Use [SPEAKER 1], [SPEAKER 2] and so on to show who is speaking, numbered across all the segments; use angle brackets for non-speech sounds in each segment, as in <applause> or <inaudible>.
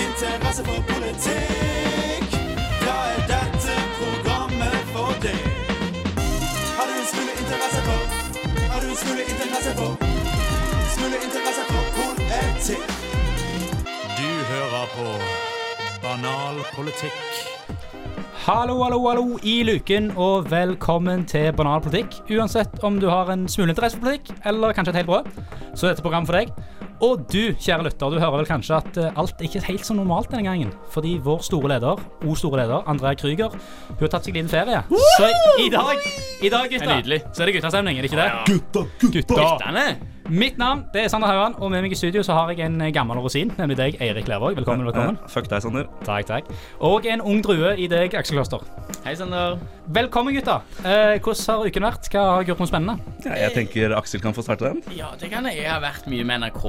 [SPEAKER 1] interesse for politikk, da er dette programmet for deg. Har du en smule interesse for Har du en smule interesse for Smule interesse for politikk? Du hører på Banal politikk.
[SPEAKER 2] Hallo, hallo, hallo i luken, og velkommen til Banal politikk. Uansett om du har en smule interesse for politikk, eller kanskje et helt brød, så er dette program for deg. Og du, kjære lytter, du hører vel kanskje at eh, alt er ikke helt som normalt denne gangen. Fordi vår store leder, o store leder, Andrea Krüger, hun har tatt seg en liten ferie. Så i dag, i dag
[SPEAKER 3] Det
[SPEAKER 2] gutta,
[SPEAKER 3] er nydelig.
[SPEAKER 2] så er det guttastemning, er det ikke det?
[SPEAKER 1] Gutta, gutta.
[SPEAKER 3] Denne?
[SPEAKER 2] Mitt navn det er Sander Hauan, og med meg i studio så har jeg en eh, gammel rosin, nemlig deg, Eirik Lervåg. Velkommen. velkommen.
[SPEAKER 4] Eh, Fuck deg, Sander.
[SPEAKER 2] Takk, takk. Og en ung drue i deg, Aksel Kloster.
[SPEAKER 3] Hei, Sander.
[SPEAKER 2] Velkommen, gutter. Eh, hvordan har uken vært? Hva har gjort noe spennende?
[SPEAKER 4] Ja, jeg tenker Aksel kan få starte den.
[SPEAKER 3] Ja, det kan jeg. Jeg har vært mye med NRK.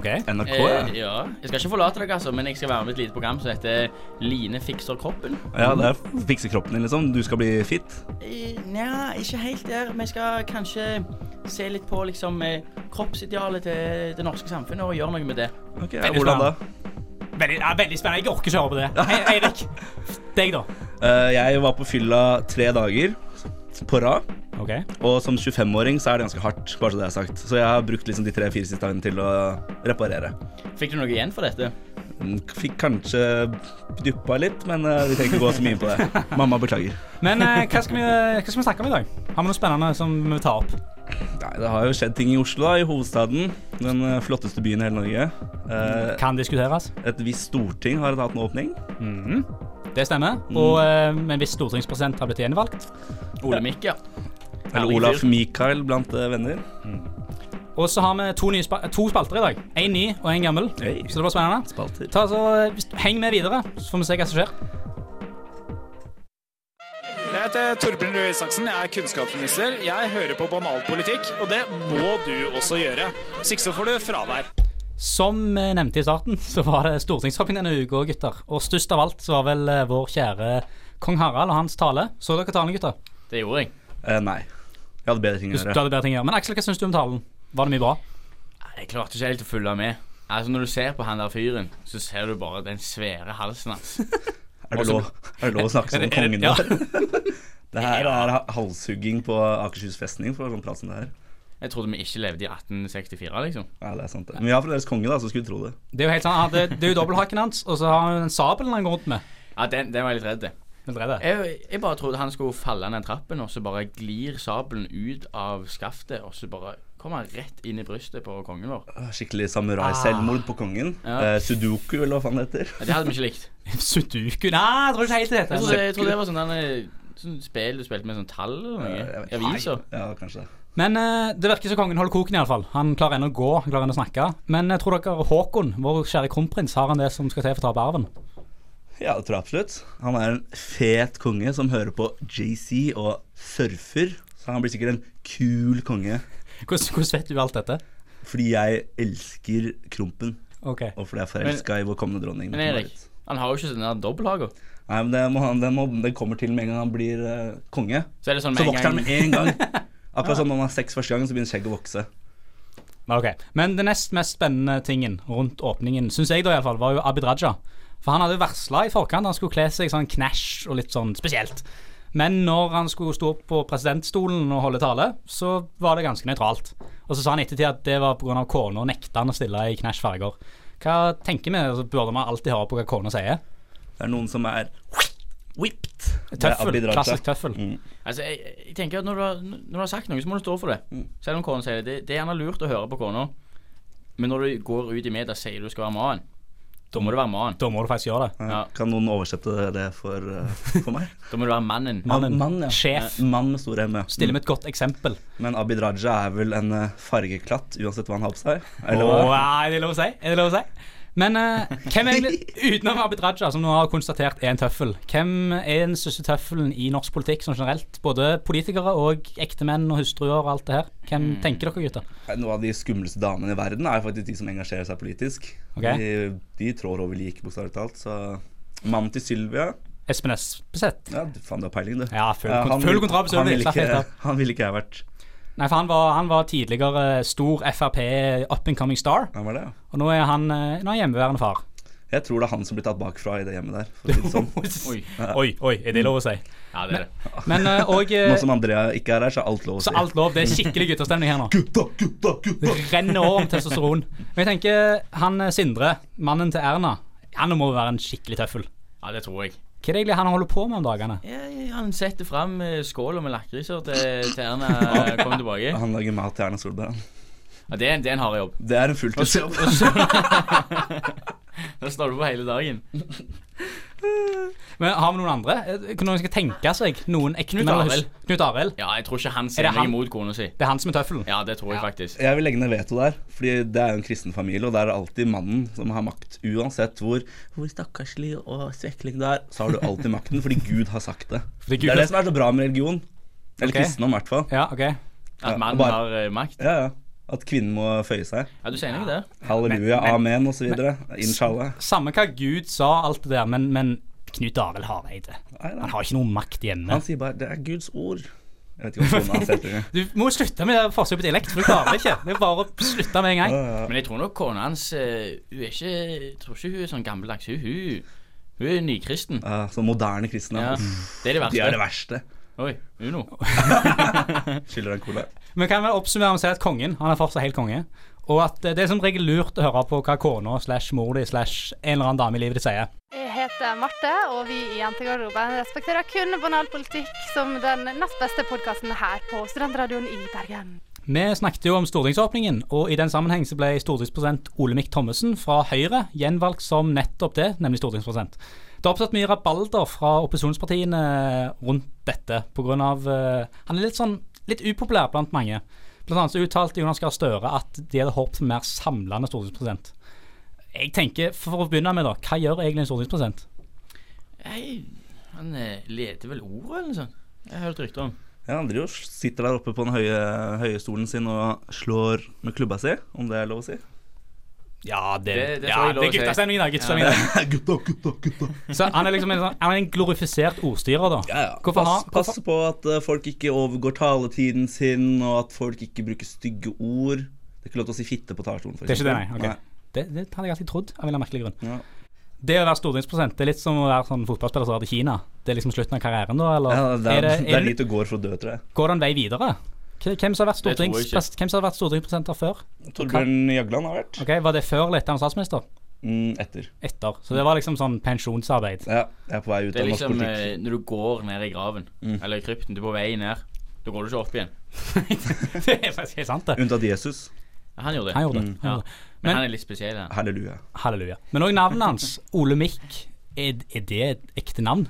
[SPEAKER 2] Ok.
[SPEAKER 4] NRK, ja.
[SPEAKER 3] Eh, ja. Jeg skal ikke forlate dere, altså, men jeg skal være med i et lite program som heter Line fikser kroppen.
[SPEAKER 4] Ja, det er fikse kroppen din, liksom. Du skal bli fit.
[SPEAKER 3] Eh, Nja, ikke helt der. Vi skal kanskje se litt på liksom eh, kroppsidealet til det norske samfunnet og gjøre noe med det.
[SPEAKER 4] Ok, ja, Hvordan da?
[SPEAKER 2] Veldig, ja, veldig spennende. Jeg orker ikke høre på det. Hei, Eirik. Deg, da.
[SPEAKER 4] Eh, jeg var på fylla tre dager på rad.
[SPEAKER 2] Ok.
[SPEAKER 4] Og som 25-åring så er det ganske hardt, bare så det er sagt. Så jeg har brukt liksom de tre-fire siste dagene til å reparere.
[SPEAKER 3] Fikk du noe igjen for dette?
[SPEAKER 4] Mm, Fikk kanskje duppa litt, men eh, vi trenger ikke gå så mye inn
[SPEAKER 3] <laughs>
[SPEAKER 4] på det. Mamma beklager.
[SPEAKER 2] Men eh, hva, skal vi, hva skal vi snakke om i dag? Har vi noe spennende som vi vil ta opp?
[SPEAKER 4] Nei, det har jo skjedd ting i Oslo, da, i hovedstaden. Den eh, flotteste byen i hele Norge. Eh,
[SPEAKER 2] Kan diskuteres.
[SPEAKER 4] et visst storting har hatt en åpning.
[SPEAKER 2] Mhm. Det stemmer. Og eh, men hvis stortingspresident har blitt gjenvalgt
[SPEAKER 3] Ole Mikk, ja.
[SPEAKER 4] Eller
[SPEAKER 3] Herlig
[SPEAKER 4] Olaf
[SPEAKER 3] fyr.
[SPEAKER 4] Mikael blant eh, venner.
[SPEAKER 2] Og så har vi to, nye spa to spalter i dag. En ny og en gammel.
[SPEAKER 4] Hey.
[SPEAKER 2] Så det blir spennende.
[SPEAKER 4] Spalter.
[SPEAKER 2] Ta så, eh, hvis- Heng med videre, så får vi se hva som skjer.
[SPEAKER 5] Jeg heter Torbjørn Røe Isaksen, jeg er kunnskapsminister. Jeg hører på banalpolitikk, og det må du også gjøre. Hvis ikke så får du fravær.
[SPEAKER 2] Som eh, nevnte i starten, <laughs> så var det stortingshopping denne uka, gutter. Og størst av alt så var vel eh, vår kjære kong Harald og hans tale. Så dere talen, gutter?
[SPEAKER 3] Det gjorde jeg.
[SPEAKER 4] Eh, nei. Jeg hadde bedre ting
[SPEAKER 2] Du
[SPEAKER 4] å
[SPEAKER 2] du
[SPEAKER 4] gjøre.
[SPEAKER 2] hadde bedre ting å gjøre. Men Aksel, hva syns du om talen? Var det mye bra?
[SPEAKER 3] Nei, Jeg klarte ikke helt å følge med. Altså, Når du ser på han der fyren, så ser du bare den svære halsen hans.
[SPEAKER 4] Er det, lov, <laughs> er det lov å snakke sånn om kongen
[SPEAKER 2] Ja.
[SPEAKER 4] vår? <laughs> Det her er ha- halshugging på Akershus festning for sånn prat som det her.
[SPEAKER 3] Jeg trodde vi ikke levde i 1864, liksom.
[SPEAKER 4] Ja, det er sant det. Men vi har fremdeles konge, da, så skulle du tro det.
[SPEAKER 2] Det er jo helt sånn, han hadde- det er jo dobbelthaken hans, og så har han en sabel han går rundt med.
[SPEAKER 3] Ja, den, den var jeg litt redd. til.
[SPEAKER 2] Vil dere det?
[SPEAKER 3] Jeg, jeg bare trodde han skulle falle ned trappen, og så bare glir sabelen ut av skaftet, og så bare kommer han rett inn i brystet på kongen vår.
[SPEAKER 4] Ah, Skikkelig samurai-selvmord på kongen.
[SPEAKER 3] Ah. Ja.
[SPEAKER 4] Eh, Sudoku, eller hva faen det heter.
[SPEAKER 3] Ja, det hadde vi ikke
[SPEAKER 4] <laughs>
[SPEAKER 3] likt.
[SPEAKER 2] Sudoku Nei, jeg tror ikke helt det
[SPEAKER 3] Jeg
[SPEAKER 2] heter.
[SPEAKER 3] trodde, jeg trodde det var sånn derne, sånn spill du spilte med sånn tall eller
[SPEAKER 4] Eh,
[SPEAKER 3] noe.
[SPEAKER 4] jeg vet-
[SPEAKER 3] Aviser.
[SPEAKER 4] Ja, kanskje det.
[SPEAKER 2] Men eh, det virker som kongen holder koken, iallfall. Han klarer ennå å gå, han klarer ennå å snakke. Men jeg tror dere Håkon, vår kjære kronprins, har han det som skal til for å ta opp arven?
[SPEAKER 4] Ja, det tror jeg absolutt. Han er en fet konge som hører på JC og surfer. Så han blir sikkert en kul konge.
[SPEAKER 2] Hvordan, hvordan vet du alt dette?
[SPEAKER 4] Fordi jeg elsker Krompen.
[SPEAKER 2] Ok.
[SPEAKER 4] Og fordi jeg er forelska i vår kommende dronning.
[SPEAKER 3] Men Erik,
[SPEAKER 4] Mette-Marit.
[SPEAKER 3] han har jo ikke sånn der dobbelthager.
[SPEAKER 4] Nei, men det, må han, det, må, det kommer til med en gang han blir eh, konge.
[SPEAKER 3] Så er det sånn
[SPEAKER 4] Så
[SPEAKER 3] med
[SPEAKER 4] vokser
[SPEAKER 3] en
[SPEAKER 4] han med
[SPEAKER 3] gang
[SPEAKER 4] en gang. Akkurat som når han har sex første gang, så begynner skjegget å vokse.
[SPEAKER 2] Ok, Men det nest mest spennende tingen rundt åpningen, syns jeg da i alle fall, var jo Abid Raja. For han hadde varsla i forkant han skulle kle seg sånn knæsj og litt sånn spesielt. Men når han skulle stå opp på presidentstolen og holde tale, så var det ganske nøytralt. Og så sa han ettertid at det var pga. kona nekta han å stille i knæsj farger. Hva tenker vi? Altså, burde vi alltid høre på hva kona sier?
[SPEAKER 4] Det er noen som er whipped. Det er
[SPEAKER 2] Tøffel.
[SPEAKER 4] Abid Raja. Mm.
[SPEAKER 2] Klassisk tøffel.
[SPEAKER 3] Altså, jeg, jeg tenker at når du, har, når du har sagt noe, så må du stå for det.
[SPEAKER 4] Mm.
[SPEAKER 3] Selv om kona sier det. det. Det er gjerne lurt å høre på kona, men når du går ut i media og sier du skal være mann, da
[SPEAKER 4] Mm.
[SPEAKER 3] må du være mann.
[SPEAKER 2] Da må du faktisk gjøre det.
[SPEAKER 4] Ja.
[SPEAKER 3] Ja.
[SPEAKER 4] Kan noen oversette det for, eh, for meg?
[SPEAKER 3] Da må du være mannen.
[SPEAKER 2] <laughs> Mannen.
[SPEAKER 4] Mann, ja.
[SPEAKER 2] Sjef.
[SPEAKER 4] Mann med store M. ja.
[SPEAKER 2] Stille med et godt eksempel.
[SPEAKER 4] Men Abid Raja er vel en eh, fargeklatt uansett hva han har på seg? Eller
[SPEAKER 2] Åh,
[SPEAKER 4] hva?
[SPEAKER 2] nei, det er lov å si. Er det lov å si? Men eh, hvem er <laughs> egentlig, utenom Abid Raja, som nå har konstatert er en tøffel, hvem er den største tøffelen i norsk politikk sånn generelt? Både politikere og ektemenn og hustruer og alt det her. Hvem tenker dere, gutter?
[SPEAKER 4] Noen av de skumleste damene i verden er faktisk de som engasjerer seg politisk.
[SPEAKER 2] Ok.
[SPEAKER 4] De, de trår over lik, bokstavelig talt. Så mannen til Sylvia
[SPEAKER 2] Espen Espeseth.
[SPEAKER 4] Ja, du- faen, du har peiling, du.
[SPEAKER 2] Ja, full,
[SPEAKER 4] Ja,
[SPEAKER 2] kont- full kontrakt på
[SPEAKER 4] han,
[SPEAKER 2] Sølvi.
[SPEAKER 4] ville
[SPEAKER 2] Slapp helt
[SPEAKER 4] ikke,
[SPEAKER 2] av.
[SPEAKER 4] han ville ikke jeg vært.
[SPEAKER 2] Nei, for han var, han var eh, tidligere stor Frp eh, up and coming star,
[SPEAKER 4] Han var det, ja.
[SPEAKER 2] og nå er han, eh, nå er han hjemmeværende far.
[SPEAKER 4] Jeg tror det er han som blir tatt bakfra i det hjemmet der. For å si det
[SPEAKER 2] <laughs>
[SPEAKER 4] sånn.
[SPEAKER 3] Oi.
[SPEAKER 2] Oi, oi, er det lov å si?
[SPEAKER 3] Ja, det er det.
[SPEAKER 2] Men eh, og eh,
[SPEAKER 4] Nå som Andrea ikke er her, så er alt lov å
[SPEAKER 2] Så
[SPEAKER 4] si.
[SPEAKER 2] alt lov. Det er skikkelig guttastemning her nå.
[SPEAKER 4] Gutta, gutta, gutta!
[SPEAKER 2] renner over med testosteron. Men jeg tenker han eh, Sindre, mannen til Erna, han må være en skikkelig tøffel.
[SPEAKER 3] Ja, det tror jeg.
[SPEAKER 2] Hva er det egentlig han holder på med om dagene?
[SPEAKER 3] Jeg- Han setter fram eh, skåla med lakriser til, til Erna kom tilbake.
[SPEAKER 4] Han lager mat til Erna Solberg. han.
[SPEAKER 3] Ja, det, er en- det er en hard jobb.
[SPEAKER 4] Det er en fulltidsjobb.
[SPEAKER 3] Da står du på hele dagen.
[SPEAKER 2] Men Har vi noen andre? Eh, Noen skal tenke seg noen ekte
[SPEAKER 3] Knut
[SPEAKER 2] menn-
[SPEAKER 3] Arild.
[SPEAKER 2] Knut Arild.
[SPEAKER 3] Ja, jeg tror ikke han
[SPEAKER 2] Er
[SPEAKER 3] ser
[SPEAKER 2] det
[SPEAKER 3] meg
[SPEAKER 2] han?
[SPEAKER 3] imot kona si.
[SPEAKER 2] Det er han som er tøffelen.
[SPEAKER 3] Ja, det tror jeg faktisk.
[SPEAKER 4] Jeg vil legge ned veto der, Fordi det er jo en kristen familie, og det er alltid mannen som har makt. Uansett hvor, hvor stakkarslig og svekkelig du er, så har du alltid makten fordi Gud har sagt det.
[SPEAKER 2] Fordi Gud
[SPEAKER 4] Det er
[SPEAKER 2] har-
[SPEAKER 4] det som er så bra med religion. Eller
[SPEAKER 2] Ok.
[SPEAKER 4] kristendom, i hvert fall.
[SPEAKER 2] Ja, ok.
[SPEAKER 4] Ja,
[SPEAKER 3] At mannen
[SPEAKER 4] bare-
[SPEAKER 3] har eh, makt.
[SPEAKER 4] Ja, ja. At kvinnen må føye seg.
[SPEAKER 3] Ja, du sier noe der.
[SPEAKER 4] Halleluja, amen, osv. Inshallah.
[SPEAKER 2] Samme hva Gud sa, alt det der, men, men Knut Arild Hareide
[SPEAKER 4] Nei, nei.
[SPEAKER 2] Han har ikke noe makt hjemme.
[SPEAKER 4] Han sier bare 'det er Guds ord'. Jeg vet ikke hva kona
[SPEAKER 2] <laughs>
[SPEAKER 4] hans heter. engang.
[SPEAKER 2] Du må jo slutte med det forsøket på dialekt, for du klarer det ikke. Det er bare å slutte med en gang.
[SPEAKER 3] Men jeg tror nok kona hans eh, Hun er ikke Jeg tror ikke hun er sånn gammeldags. Hun, hun, hun er nykristen.
[SPEAKER 4] Ja, Ah, så moderne kristne.
[SPEAKER 3] Ja,
[SPEAKER 4] uff,
[SPEAKER 3] det er det verste.
[SPEAKER 4] <laughs> De er det verste.
[SPEAKER 3] Oi, Uno.
[SPEAKER 4] Skylder en cola.
[SPEAKER 2] Vi kan vel oppsummere med å si at kongen han er fortsatt helt konge. Og at eh, det er som regel lurt å høre på hva kona slash mor di slash en eller annen dame i livet ditt sier.
[SPEAKER 6] Jeg heter Marte, og vi i Jentegarderoben respekterer kun banalpolitikk som den nest beste podkasten her på Studentradioen i Bergen.
[SPEAKER 2] Vi snakket jo om stortingsåpningen, og i den sammenheng så ble stortingspresident Olemic Thommessen fra Høyre gjenvalgt som nettopp det, nemlig stortingspresident. Det har oppstått mye rabalder fra opposisjonspartiene rundt dette pga. Uh, han er litt sånn litt upopulær blant mange. Blant annet så uttalte Jonas Gahr Støre at de hadde håpet på en mer samlende stortingspresident. Jeg tenker, For å begynne med, da, hva gjør egentlig en stortingspresident?
[SPEAKER 3] Hei, han eh, leder vel ordet, eller noe sånt? Jeg har hørt rykter om.
[SPEAKER 4] Ja, han driver og sitter der oppe på den høye, høye stolen sin og slår med klubba si, om det er lov å si.
[SPEAKER 2] Ja, det,
[SPEAKER 3] Det- det
[SPEAKER 2] ja,
[SPEAKER 3] får jeg
[SPEAKER 2] det
[SPEAKER 3] lov å
[SPEAKER 2] er
[SPEAKER 3] si.
[SPEAKER 2] guttastemning i dag. guttastemning i dag.
[SPEAKER 4] <laughs> gutta, gutta, gutta.
[SPEAKER 2] Så han er liksom en, sånn, han er en glorifisert ordstyrer, da.
[SPEAKER 4] Ja, ja.
[SPEAKER 2] Hvorfor
[SPEAKER 4] pass,
[SPEAKER 2] har
[SPEAKER 4] pass på at eh, folk ikke overgår taletiden sin, og at folk ikke bruker stygge ord. Det er ikke lov til å si fitte på talerstolen. for
[SPEAKER 2] Det er ikke det, nei.
[SPEAKER 4] eksempel.
[SPEAKER 2] ok. Det, det hadde jeg alltid trodd. av en eller annen merkelig grunn.
[SPEAKER 4] Ja.
[SPEAKER 2] Det å være stortingspresident det er litt som å være sånn fotballspiller som drar til Kina. Det er liksom slutten av karrieren, da? Eller
[SPEAKER 4] Ja, det, er,
[SPEAKER 2] er det,
[SPEAKER 4] det er
[SPEAKER 2] er,
[SPEAKER 4] dit du går for å dø, tror jeg.
[SPEAKER 2] går det en vei videre? K- Hvem som har vært,
[SPEAKER 3] Det tror jeg
[SPEAKER 2] stortings,
[SPEAKER 3] ikke.
[SPEAKER 2] pres- hvem som har vært stortingspresident her før?
[SPEAKER 4] Torbjørn Jagland har vært.
[SPEAKER 2] Ok, Var det før eller etter han var statsminister?
[SPEAKER 4] Mm, etter.
[SPEAKER 2] Etter. Så det var liksom sånn
[SPEAKER 4] <laughs>
[SPEAKER 2] pensjonsarbeid.
[SPEAKER 4] Ja, jeg er på vei ut
[SPEAKER 3] Det
[SPEAKER 4] av
[SPEAKER 3] er
[SPEAKER 4] norsk
[SPEAKER 3] liksom
[SPEAKER 4] politikk.
[SPEAKER 3] eh, når du går ned i graven, eller i krypten, du er på vei ned. Da går du ikke opp igjen.
[SPEAKER 2] <laughs> det er faktisk helt sant, det.
[SPEAKER 4] Unntatt Jesus.
[SPEAKER 3] Ja, han gjorde det.
[SPEAKER 2] Han gjorde
[SPEAKER 4] Mm.
[SPEAKER 2] det.
[SPEAKER 3] Ja.
[SPEAKER 2] Han gjorde det. Men-
[SPEAKER 3] Men, han er litt spesiell, han.
[SPEAKER 4] Halleluja.
[SPEAKER 2] Halleluja. Men òg navnet hans, Ole Mikk, er, er det et ekte navn?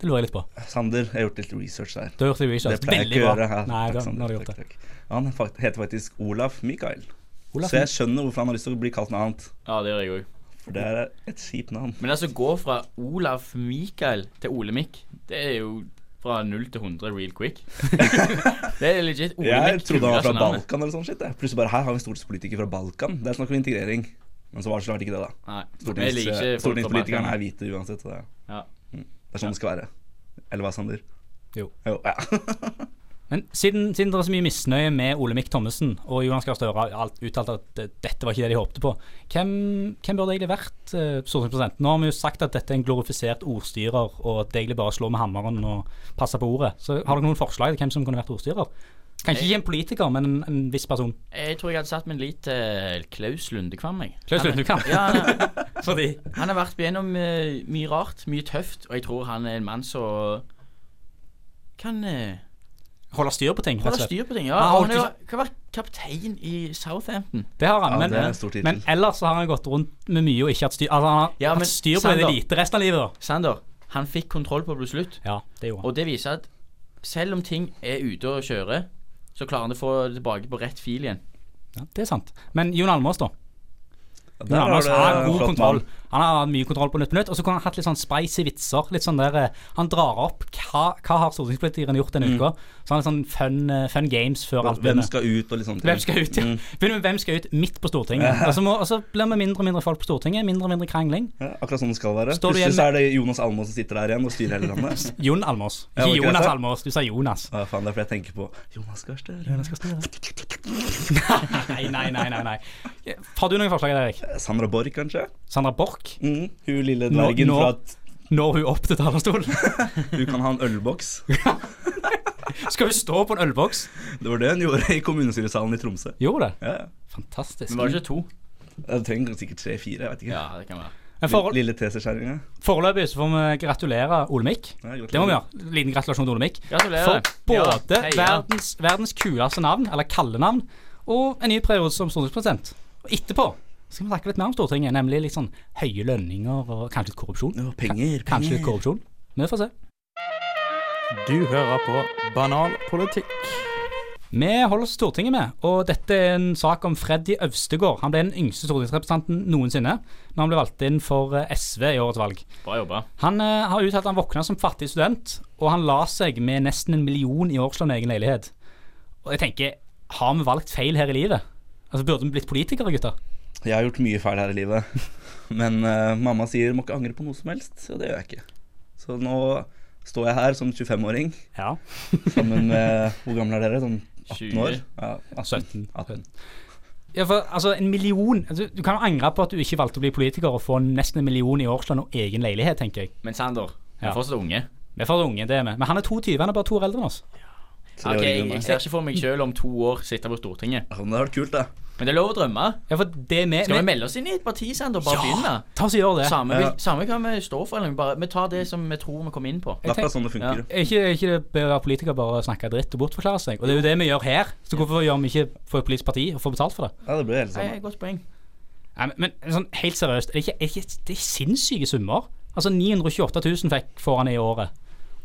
[SPEAKER 2] Det lurer jeg litt på.
[SPEAKER 4] Sander, jeg har gjort litt research der.
[SPEAKER 2] Du har gjort det i
[SPEAKER 4] Det
[SPEAKER 2] research.
[SPEAKER 4] pleier jeg
[SPEAKER 2] Veldig
[SPEAKER 4] ikke å
[SPEAKER 2] bra.
[SPEAKER 4] gjøre. Ja,
[SPEAKER 2] Nei,
[SPEAKER 4] takk,
[SPEAKER 2] da, nå
[SPEAKER 4] Sander.
[SPEAKER 2] har du gjort
[SPEAKER 4] Takk,
[SPEAKER 2] det.
[SPEAKER 4] takk. Han fakt- heter faktisk Olaf Mikael.
[SPEAKER 2] Olaf
[SPEAKER 4] Så jeg skjønner hvorfor han har lyst til å bli kalt noe annet.
[SPEAKER 3] Ja, det gjør jeg òg.
[SPEAKER 4] For det er et kjipt navn.
[SPEAKER 3] Men altså, gå fra Olaf Mikael til Ole Mikk, det er jo fra 0 til 100
[SPEAKER 2] <laughs>
[SPEAKER 3] real quick. det er legit. Ole
[SPEAKER 4] Jeg
[SPEAKER 3] Mikk
[SPEAKER 4] trodde han var
[SPEAKER 3] kuleste
[SPEAKER 4] fra
[SPEAKER 3] navnet.
[SPEAKER 4] Balkan eller sånn shit. jeg. Plutselig bare her har vi en stortingspolitiker fra Balkan. Det er snakk om integrering. Men så var det så klart ikke det, da.
[SPEAKER 3] Nei, jeg
[SPEAKER 4] Stortings,
[SPEAKER 3] liker ikke folk fra
[SPEAKER 4] stortingspolitikerne
[SPEAKER 3] Balkan.
[SPEAKER 4] er hvite uansett. Så det er,
[SPEAKER 3] Ja.
[SPEAKER 4] det er sånn det skal være. Eller hva, Sander?
[SPEAKER 2] Jo.
[SPEAKER 4] ja.
[SPEAKER 2] Men siden, siden det er så mye misnøye med Olemic Thommessen og Jonas Gahr Støre har alt uttalt at eh, dette var ikke det de håpte på, hvem, hvem burde egentlig vært eh, stortingspresident? Nå har vi jo sagt at dette er en glorifisert ordstyrer, og at det egentlig bare slår med hammeren og passer på ordet. Så har dere noen forslag til hvem som kunne vært ordstyrer? Kanskje ikke en politiker, men en, en viss person.
[SPEAKER 3] Jeg tror jeg hadde satt min lit til Klaus Lundekvam, jeg.
[SPEAKER 2] Klaus
[SPEAKER 3] Han er-
[SPEAKER 2] Lundekvam?
[SPEAKER 3] Ja, han
[SPEAKER 2] <laughs>
[SPEAKER 3] er-
[SPEAKER 2] Fordi
[SPEAKER 3] Han har vært gjennom eh, mye rart, mye tøft, og jeg tror han er en mann som kan eh,
[SPEAKER 2] holder styr på ting, rett og
[SPEAKER 3] holde
[SPEAKER 2] slett.
[SPEAKER 3] styr på ting. Ja,
[SPEAKER 2] Han har
[SPEAKER 3] han er,
[SPEAKER 2] alltid-
[SPEAKER 3] jo- kan være kaptein i Southampton.
[SPEAKER 2] Det har han,
[SPEAKER 4] Ja,
[SPEAKER 2] men,
[SPEAKER 4] det er en stor tittel.
[SPEAKER 2] men ellers så har han gått rundt med mye og ikke hatt styr Altså, han har
[SPEAKER 3] Ja, men
[SPEAKER 2] hatt styr på det
[SPEAKER 3] Sander-
[SPEAKER 2] lite resten av livet, da.
[SPEAKER 3] Sander, han fikk kontroll på det til slutt,
[SPEAKER 2] Ja, det gjorde han.
[SPEAKER 3] og det viser at selv om ting er ute og kjører, så klarer han å få det tilbake på rett fil igjen.
[SPEAKER 2] Ja, det er sant. Men Jon Almaas, da?
[SPEAKER 4] Der
[SPEAKER 2] Jon
[SPEAKER 4] har
[SPEAKER 2] Almaas
[SPEAKER 4] du
[SPEAKER 2] altså, har
[SPEAKER 4] en
[SPEAKER 2] god
[SPEAKER 4] flott
[SPEAKER 2] kontroll.
[SPEAKER 4] mann.
[SPEAKER 2] Han har hatt mye kontroll på Nytt på Nytt. Og så kunne han hatt litt sånn spicy vitser. Litt sånn der, eh, Han drar opp hva, hva har stortingspolitikerne gjort denne uka. Så han er sånn fun, eh, fun games før alt
[SPEAKER 4] Mm. Hvem
[SPEAKER 2] begynner.
[SPEAKER 4] skal Mm. ut, og liksom litt sånne ting.
[SPEAKER 2] Hvem skal ut? Ja. Begynner med hvem skal ut midt på Stortinget. Og så, må, og så blir vi mindre og mindre folk på Stortinget. Mindre og mindre krangling.
[SPEAKER 4] Ja, akkurat sånn det skal være.
[SPEAKER 2] Står du
[SPEAKER 4] Plutselig
[SPEAKER 2] igjen
[SPEAKER 4] så er det Jonas Almaas som sitter der igjen og styrer hele landet. <laughs>
[SPEAKER 2] Jon Almaas.
[SPEAKER 4] Ja, var
[SPEAKER 2] Ikke
[SPEAKER 4] ikke det
[SPEAKER 2] Jonas
[SPEAKER 4] jeg sa?
[SPEAKER 2] Almaas, du sa Jonas. <laughs>
[SPEAKER 4] Ja, faen, det er fordi jeg tenker på Jonas Gahr Støre.
[SPEAKER 2] Nei, nei, nei, nei. nei. Har du noen forslag, Erik?
[SPEAKER 4] Sandra Borch, kanskje?
[SPEAKER 2] Sandra Borch?
[SPEAKER 4] Mm, hun lille dvergen
[SPEAKER 2] nå-
[SPEAKER 4] fra at
[SPEAKER 2] Når hun opp til talerstolen? <laughs>
[SPEAKER 4] hun kan ha en ølboks.
[SPEAKER 2] Skal hun stå på en ølboks?
[SPEAKER 4] <laughs> Det var det hun gjorde i kommunestyresalen i Tromsø.
[SPEAKER 2] Gjorde det.
[SPEAKER 4] Ja, ja.
[SPEAKER 2] Fantastisk.
[SPEAKER 3] Men var det ikke to?
[SPEAKER 4] Jeg trenger sikkert tre-fire, jeg vet ikke.
[SPEAKER 3] Ja, det kan være.
[SPEAKER 2] Men for,
[SPEAKER 4] Lille teseskjæringa.
[SPEAKER 2] foreløpig så får vi gratulere Olemic.
[SPEAKER 4] Ja, gratulerer.
[SPEAKER 2] Det må vi gjøre. Liten gratulasjon til Olemic.
[SPEAKER 3] Gratulerer.
[SPEAKER 2] For både
[SPEAKER 3] Ja, heia.
[SPEAKER 2] verdens, verdens kuleste navn, eller kallenavn, og en ny periode som stortingspresident. Og etterpå skal vi snakke litt mer om Stortinget, nemlig litt sånn høye lønninger og kanskje litt korrupsjon.
[SPEAKER 4] Å, penger,
[SPEAKER 2] Kanskje litt
[SPEAKER 4] penger.
[SPEAKER 2] korrupsjon. Men vi får se.
[SPEAKER 7] Du hører på Banal politikk.
[SPEAKER 2] Vi holder oss til Stortinget med, og dette er en sak om Freddy Øvstegård. Han ble den yngste stortingsrepresentanten noensinne når han ble valgt inn for eh, SV i årets valg.
[SPEAKER 3] Bra jobba.
[SPEAKER 2] Han eh, har uttalt at han våkna som fattig student, og han la seg med nesten en million i årslønn i egen leilighet. Og jeg tenker, har vi valgt feil her i livet? Altså, Burde vi blitt politikere, gutter?
[SPEAKER 4] Jeg har gjort mye feil her i livet. <laughs> Men eh, mamma sier må ikke angre på noe som helst, og det gjør jeg ikke. Så nå står jeg her som 25-åring
[SPEAKER 2] Ja.
[SPEAKER 4] sammen med Hvor gamle er dere? Sånn 18 år?
[SPEAKER 3] 20.
[SPEAKER 4] Ja,
[SPEAKER 2] 17.
[SPEAKER 4] 18.
[SPEAKER 2] ja for, altså, en million altså, Du kan jo angre på at du ikke valgte å bli politiker og få nesten en million i årslønn og egen leilighet, tenker jeg.
[SPEAKER 3] Men Sander, du
[SPEAKER 2] Ja.
[SPEAKER 3] er fortsatt unge.
[SPEAKER 2] Vi er for unge, det er vi. Men han er 22, han er bare to år eldre enn oss.
[SPEAKER 4] Tre
[SPEAKER 3] Ok,
[SPEAKER 4] år
[SPEAKER 3] jeg,
[SPEAKER 4] yngre enn
[SPEAKER 3] jeg
[SPEAKER 4] meg.
[SPEAKER 3] ser ikke for meg sjøl om to år sitte på Stortinget.
[SPEAKER 4] Ja, men det har vært kult, da.
[SPEAKER 3] Men det er lov å drømme.
[SPEAKER 2] Ja, for det er vi
[SPEAKER 3] Skal vi
[SPEAKER 2] vi-
[SPEAKER 3] melde oss inn i et parti, Sander? Bare
[SPEAKER 2] Ja!
[SPEAKER 3] begynne?
[SPEAKER 2] Ta oss og gjør det.
[SPEAKER 3] Samme,
[SPEAKER 4] Ja.
[SPEAKER 3] vil- samme hva vi står for. Eller vi bare, vi tar det som vi tror vi kommer inn på.
[SPEAKER 4] Det er akkurat sånn det funker.
[SPEAKER 2] Er ikke, er ikke det bedre å være politiker bare å snakke dritt og bortforklare seg? Og det er jo det vi gjør her. Så hvorfor gjør vi ikke for et politisk parti og får betalt for det?
[SPEAKER 4] Ja, det blir helt
[SPEAKER 3] Det er
[SPEAKER 4] sånn.
[SPEAKER 3] et godt poeng.
[SPEAKER 2] Nei, men, men sånn helt seriøst, er det ikke, er det ikke det er sinnssyke summer? Altså 928 000 fikk får han i året.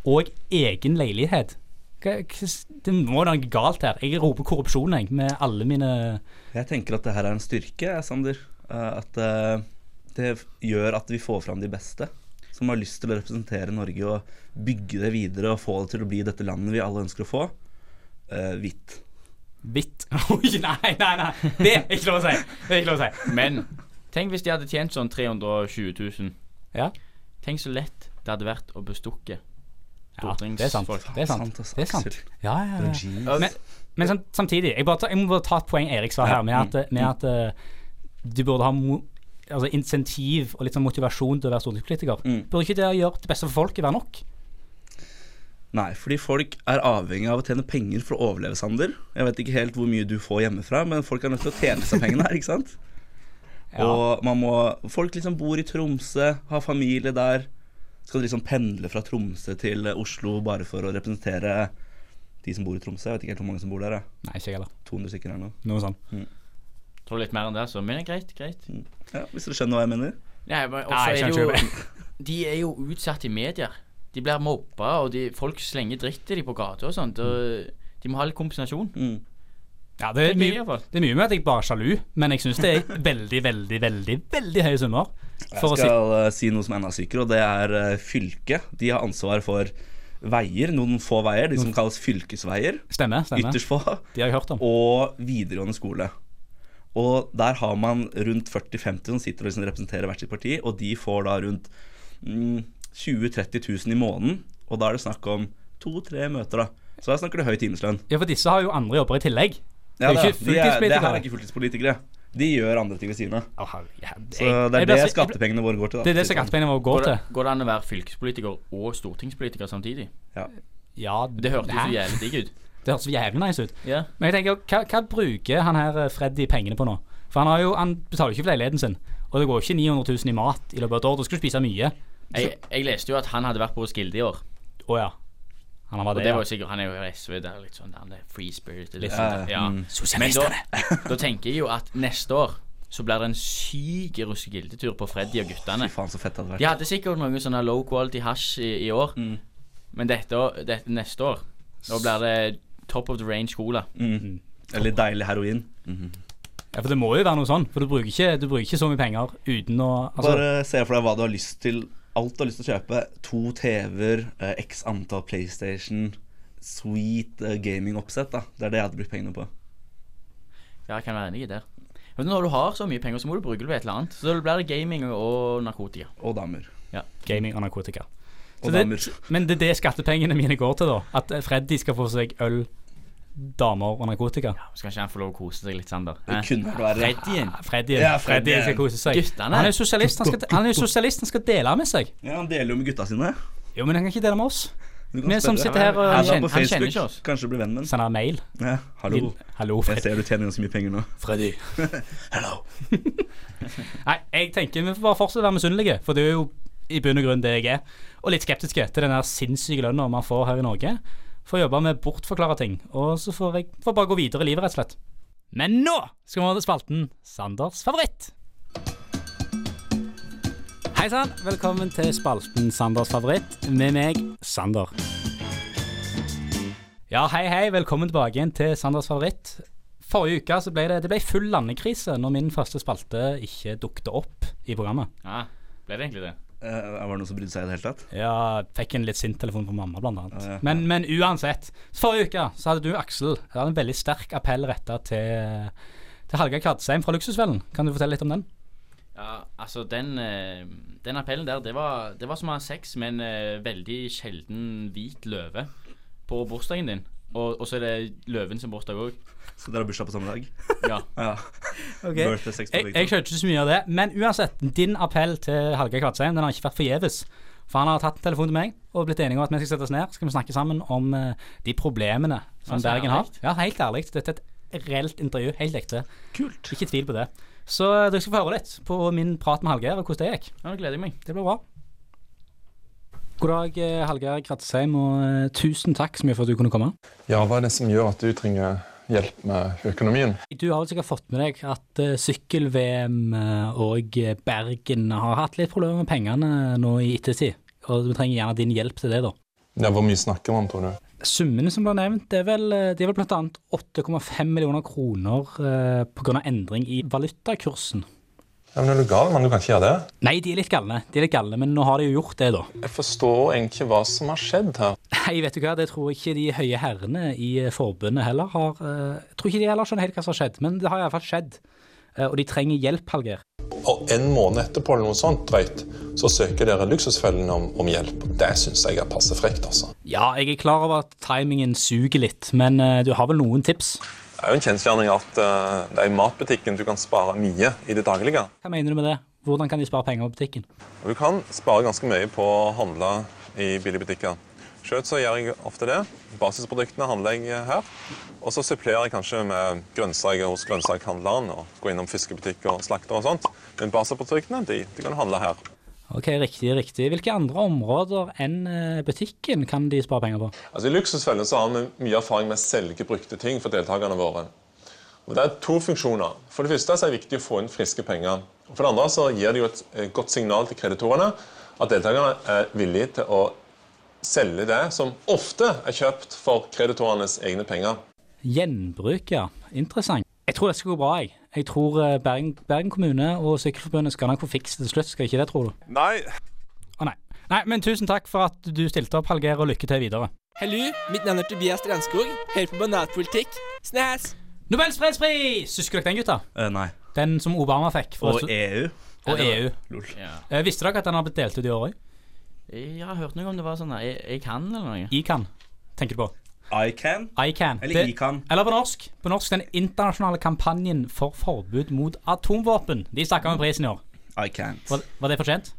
[SPEAKER 2] Og egen leilighet. Hva, hva, det må være noe galt her. Jeg roper korrupsjon, jeg, med alle mine
[SPEAKER 4] Jeg tenker at det her er en styrke, jeg, Sander. Eh, At eh, det gjør at vi får fram de beste. Som har lyst til å representere Norge og bygge det videre og få det til å bli dette landet vi alle ønsker å få. Eh, hvitt.
[SPEAKER 2] hvitt <laughs> Oi, nei, nei, nei. Det er ikke lov å si. Det er ikke lov å si.
[SPEAKER 3] Men tenk hvis de hadde tjent sånn 320 000.
[SPEAKER 2] Ja.
[SPEAKER 3] Tenk så lett det hadde vært å bestukke
[SPEAKER 2] Ja, det er sant.
[SPEAKER 3] stortingsfolk.
[SPEAKER 2] Det er sant.
[SPEAKER 4] ass,
[SPEAKER 2] Det er sant.
[SPEAKER 4] Aksel.
[SPEAKER 2] Ja, ja, ja.
[SPEAKER 4] Jeez.
[SPEAKER 2] Men, men sam- samtidig, jeg, bare tar- jeg må bare ta et poeng Erik sa her, med at, med at eh, du burde ha mo altså insentiv og litt sånn motivasjon til å være stortingspolitiker. Burde ikke det å gjøre det beste for folket være nok?
[SPEAKER 4] Nei, fordi folk er avhengig av å tjene penger for å overleve, Sander. Jeg vet ikke helt hvor mye du får hjemmefra, men folk er nødt til å tjene seg pengene her, ikke sant?
[SPEAKER 2] Ja.
[SPEAKER 4] Og man må Folk liksom bor i Tromsø, har familie der. Skal liksom pendle fra Tromsø til eh, Oslo bare for å representere de som bor i Tromsø. Jeg vet ikke helt hvor mange som bor der. jeg.
[SPEAKER 2] Nei, ikke jeg heller.
[SPEAKER 4] 200 stykker her nå.
[SPEAKER 2] Noe sånt.
[SPEAKER 3] Tror litt mer enn det, så. Men det er greit. greit.
[SPEAKER 4] Ja, hvis dere skjønner hva jeg mener.
[SPEAKER 3] Nei, men også
[SPEAKER 2] Nei, jeg
[SPEAKER 3] er det
[SPEAKER 2] skjønner
[SPEAKER 3] jo <laughs> De er jo utsatt i medier. De blir mobba, og de, folk slenger dritt til dem på gata og sånt. Og de må ha litt kompensasjon.
[SPEAKER 4] Mm.
[SPEAKER 2] Ja, det er,
[SPEAKER 3] Tenker jeg i
[SPEAKER 2] mye,
[SPEAKER 3] hvert fall.
[SPEAKER 2] det er mye med at jeg bare er sjalu, men jeg syns det er veldig, veldig, veldig veldig høye summer. For å
[SPEAKER 4] Jeg
[SPEAKER 2] si
[SPEAKER 4] skal eh, si noe som er enda sykere, og det er eh, fylket. De har ansvar for veier, noen få veier, de som kalles fylkesveier.
[SPEAKER 2] Stemme. stemme.
[SPEAKER 4] Ytterst få.
[SPEAKER 2] De har jeg hørt om.
[SPEAKER 4] og videregående skole. Og der har man rundt 40-50 som sitter og liksom representerer hvert sitt parti, og de får da rundt mm, 20 000-30 000 i måneden. Og da er det snakk om to-tre møter, da. Så der snakker du høy timeslønn.
[SPEAKER 2] Ja, for disse har jo andre jobber i tillegg.
[SPEAKER 4] Ja,
[SPEAKER 2] det er jo
[SPEAKER 4] da.
[SPEAKER 2] ikke
[SPEAKER 4] de er, det her
[SPEAKER 2] fulltidspolitikere.
[SPEAKER 4] er ikke fulltidspolitikere. De gjør andre ting ved siden av.
[SPEAKER 2] Å, herre- ja,
[SPEAKER 4] Så
[SPEAKER 2] jeg-
[SPEAKER 4] det
[SPEAKER 2] jeg
[SPEAKER 4] er
[SPEAKER 2] blir
[SPEAKER 4] det
[SPEAKER 2] så- jeg blir-
[SPEAKER 4] skattepengene våre går til. Da.
[SPEAKER 2] Det er det skattepengene våre går
[SPEAKER 3] Går det,
[SPEAKER 2] til.
[SPEAKER 3] går det an å være fylkespolitiker og stortingspolitiker samtidig?
[SPEAKER 4] Ja.
[SPEAKER 2] Ja,
[SPEAKER 3] Det hørtes
[SPEAKER 2] hæ?
[SPEAKER 3] jo jævlig digg ut.
[SPEAKER 2] Det hørtes så jævlig nice ut.
[SPEAKER 3] Ja.
[SPEAKER 2] Men jeg tenker, hva, hva bruker han her eh, Freddy pengene på nå? For han, har jo, han betaler jo ikke for leiligheten sin. Og det går jo ikke 900 000 i mat i løpet av et år. Da skal du spise mye.
[SPEAKER 3] Jeg, jeg leste jo at han hadde vært på Roskilde i år.
[SPEAKER 2] Å ja. Han var
[SPEAKER 3] Og
[SPEAKER 2] det,
[SPEAKER 3] det var
[SPEAKER 2] ja.
[SPEAKER 3] jo sikkert Han er jo SV der, litt sånn han er free spirit. Litt
[SPEAKER 4] Ja,
[SPEAKER 3] sånn,
[SPEAKER 4] ja,
[SPEAKER 3] ja.
[SPEAKER 4] mm.
[SPEAKER 3] Men da, da tenker jeg jo at neste år så blir det en syk Roskilde-tur på Freddy og guttene.
[SPEAKER 4] Fy faen, så fett det hadde vært.
[SPEAKER 3] De hadde sikkert noen sånne low quality hasj i, i år, men dette, år- dette neste år Da blir det top of the range cola.
[SPEAKER 4] Eller deilig heroin.
[SPEAKER 2] ja. For det må jo være noe sånn. For du bruker ikke, du bruker ikke så mye penger uten å altså,
[SPEAKER 4] Bare se for deg hva du har lyst til. Alt du har lyst til å kjøpe. To TV-er, eh, x antall PlayStation, sweet eh, gaming-oppsett. da Det er det jeg hadde brukt pengene på.
[SPEAKER 3] Ja, jeg kan være enig i det. Men når du har så mye penger, så må du bruke det på et eller annet. Så da blir det gaming og narkotika.
[SPEAKER 4] Og damer.
[SPEAKER 2] gaming og narkotika. Så
[SPEAKER 4] Og
[SPEAKER 2] det,
[SPEAKER 4] damer.
[SPEAKER 2] men det er det skattepengene mine går til, da. At eh, Freddy skal få seg øl, damer og narkotika.
[SPEAKER 3] Skal ikke han få lov å kose seg litt, Sander? Hæ?
[SPEAKER 4] Det kunne vært verre.
[SPEAKER 3] Freddyen.
[SPEAKER 2] Freddy,
[SPEAKER 4] Ja,
[SPEAKER 2] Freddy
[SPEAKER 4] Freddy.
[SPEAKER 2] skal kose seg.
[SPEAKER 3] Guttene.
[SPEAKER 2] Han er jo sosialist, han skal, han er jo sosialist, han skal dele med seg.
[SPEAKER 4] Ja, Han deler jo med gutta sine.
[SPEAKER 2] Jo, men han kan ikke dele med oss.
[SPEAKER 4] Du
[SPEAKER 2] Vi som sitter her og
[SPEAKER 4] Han
[SPEAKER 3] Han
[SPEAKER 4] er på
[SPEAKER 3] kjenner- han kjenner
[SPEAKER 4] Facebook.
[SPEAKER 3] ikke oss.
[SPEAKER 4] Kanskje blir venn med ham.
[SPEAKER 2] sender mail.
[SPEAKER 4] Ja, hallo.
[SPEAKER 2] Hallo,
[SPEAKER 4] Jeg
[SPEAKER 2] Freddy.
[SPEAKER 4] ser du tjener ganske mye penger nå. <laughs>
[SPEAKER 2] Freddy.
[SPEAKER 4] Hello.
[SPEAKER 2] Nei, jeg tenker vi får bare fortsette å være misunnelige, for det er jo i bunn og grunn det jeg er. Og litt skeptiske til den der sinnssyke lønna man får her i Norge for å jobbe med bortforklare ting. Og så får jeg får bare gå videre i livet, rett og slett. Men nå skal vi over til spalten Sanders favoritt. Hei sann, velkommen til spalten Sanders favoritt med meg, Sander. Ja, hei hei, velkommen tilbake igjen til Sanders favoritt. Forrige uke så ble det, det ble full landekrise når min første spalte ikke dukte opp i programmet.
[SPEAKER 3] Ja, ble det egentlig det?
[SPEAKER 4] Eh, var det noen som brydde seg i det hele tatt?
[SPEAKER 2] Ja, fikk en litt sint telefon fra mamma, blant annet.
[SPEAKER 4] Ja, ja.
[SPEAKER 2] Men, men uansett. Forrige uke så hadde du, Aksel, du hadde en veldig sterk appell retta til, til Halga Kvadsheim fra Luksusfellen. Kan du fortelle litt om den?
[SPEAKER 3] Ja, altså den, eh, den appellen der, det var, det var som å ha sex med en eh, veldig sjelden hvit løve på bursdagen din. Og, og så er det løven som bursdag òg.
[SPEAKER 4] Så dere har bursdag på samme dag?
[SPEAKER 3] Ja.
[SPEAKER 2] <laughs>
[SPEAKER 4] Ja. Birthday sex
[SPEAKER 2] Jeg, jeg skjønte ikke så mye av det. Men uansett, din appell til Halga Kvadsheim den har ikke vært forgjeves. For han har tatt en telefon til meg og blitt enige om at vi skal sette oss ned skal vi snakke sammen om eh, de problemene som
[SPEAKER 3] Altså,
[SPEAKER 2] Bergen har.
[SPEAKER 3] ærlig?
[SPEAKER 2] Ja, Helt ærlig. Dette er et reelt intervju. Helt ekte.
[SPEAKER 4] Kult.
[SPEAKER 2] Ikke tvil på det. Så eh, dere skal få høre litt på min prat med Hallgeir og hvordan det gikk.
[SPEAKER 3] ja, nå gleder jeg meg.
[SPEAKER 2] Det blir bra. God dag, eh, Hallgeir Kratsheim, og eh, tusen takk så mye for at du kunne komme.
[SPEAKER 8] Ja, hva er det som gjør at du trenger hjelp med økonomien?
[SPEAKER 2] Du har vel sikkert fått med deg at eh, sykkel-VM eh, og eh, Bergen har hatt litt problemer med pengene nå i ettertid. Og vi trenger gjerne din hjelp til det, da.
[SPEAKER 8] Ja, hvor mye snakker man, tror du?
[SPEAKER 2] Summene som ble nevnt, det er vel, eh, det er vel bl.a. 8,5 millioner kroner eh, pga. endring i valutakursen.
[SPEAKER 8] Ja, men er du gal, mann? Du kan ikke gjøre det.
[SPEAKER 2] Nei, de er litt galne, de er litt galne, men nå har de jo gjort det, da.
[SPEAKER 8] Jeg forstår egentlig ikke hva som har skjedd her.
[SPEAKER 2] Nei, vet du hva, det tror jeg ikke de høye herrene i eh, forbundet heller har eh, Jeg tror ikke de heller skjønner helt hva som har skjedd, men det har iallfall skjedd. Eh, og de trenger hjelp, Hallgeir.
[SPEAKER 8] Og en måned etterpå eller noe sånt drøyt, så søker dere Luksusfellen om, om hjelp. Det syns jeg er passe frekt, altså.
[SPEAKER 2] Ja, jeg er klar over at timingen suger litt, men eh, du har vel noen tips?
[SPEAKER 8] Det er jo en kjensgjerning at eh, det er i matbutikken du kan spare mye i det daglige.
[SPEAKER 2] Hva mener du med det? Hvordan kan de spare penger på butikken?
[SPEAKER 8] Og du kan spare ganske mye på å handle i billige butikker. Selv så gjør jeg ofte det. Basisproduktene handler jeg her. Og så supplerer jeg kanskje med grønnsaker hos grønnsakhandleren og går innom fiskebutikker og slakter og sånt. Men basisproduktene de, de kan du handle her.
[SPEAKER 2] Ok, riktig, riktig. Hvilke andre områder enn eh, butikken kan de spare penger på?
[SPEAKER 8] Altså, I Luksusfellen så har vi mye erfaring med å selge brukte ting for deltakerne våre. Og Det er to funksjoner. For det første så er det viktig å få inn friske penger. Og For det andre så gir det jo et eh, godt signal til kreditorene at deltakerne er villige til å selge det som ofte er kjøpt for kreditorenes egne penger.
[SPEAKER 2] Gjenbruk, ja. Interessant. Jeg tror det skal gå bra, jeg. Jeg tror eh, Bergen, Bergen kommune og Sykkelforbundet skal nok få fikse det til slutt, skal ikke det, tror du?
[SPEAKER 8] Nei,
[SPEAKER 2] Å nei. Nei, men tusen takk for at du stilte opp, Hallgeir, og lykke til videre.
[SPEAKER 9] Hallo, mitt navn er Tobias Strandskog. Hører på banatpolitikk. Snæs!
[SPEAKER 2] Nobels fredspris! Husker dere den, gutta?
[SPEAKER 4] Eh, nei.
[SPEAKER 2] Den som Obama fikk. for-
[SPEAKER 4] Og EU.
[SPEAKER 2] og EU.
[SPEAKER 4] Lol.
[SPEAKER 3] Ja.
[SPEAKER 2] Eh, visste dere at den har blitt delt ut i år òg?
[SPEAKER 3] Jeg har hørt noe om det var sånn der, jeg, jeg kan eller noe.
[SPEAKER 2] ICAN, tenker du på.
[SPEAKER 4] I can.
[SPEAKER 2] ICAN.
[SPEAKER 4] Eller
[SPEAKER 2] Det-
[SPEAKER 4] ICAN.
[SPEAKER 2] Eller på norsk. På norsk den internasjonale kampanjen for forbud mot atomvåpen. De stakk av med prisen i år.
[SPEAKER 4] I can't.
[SPEAKER 2] Var, var det fortjent?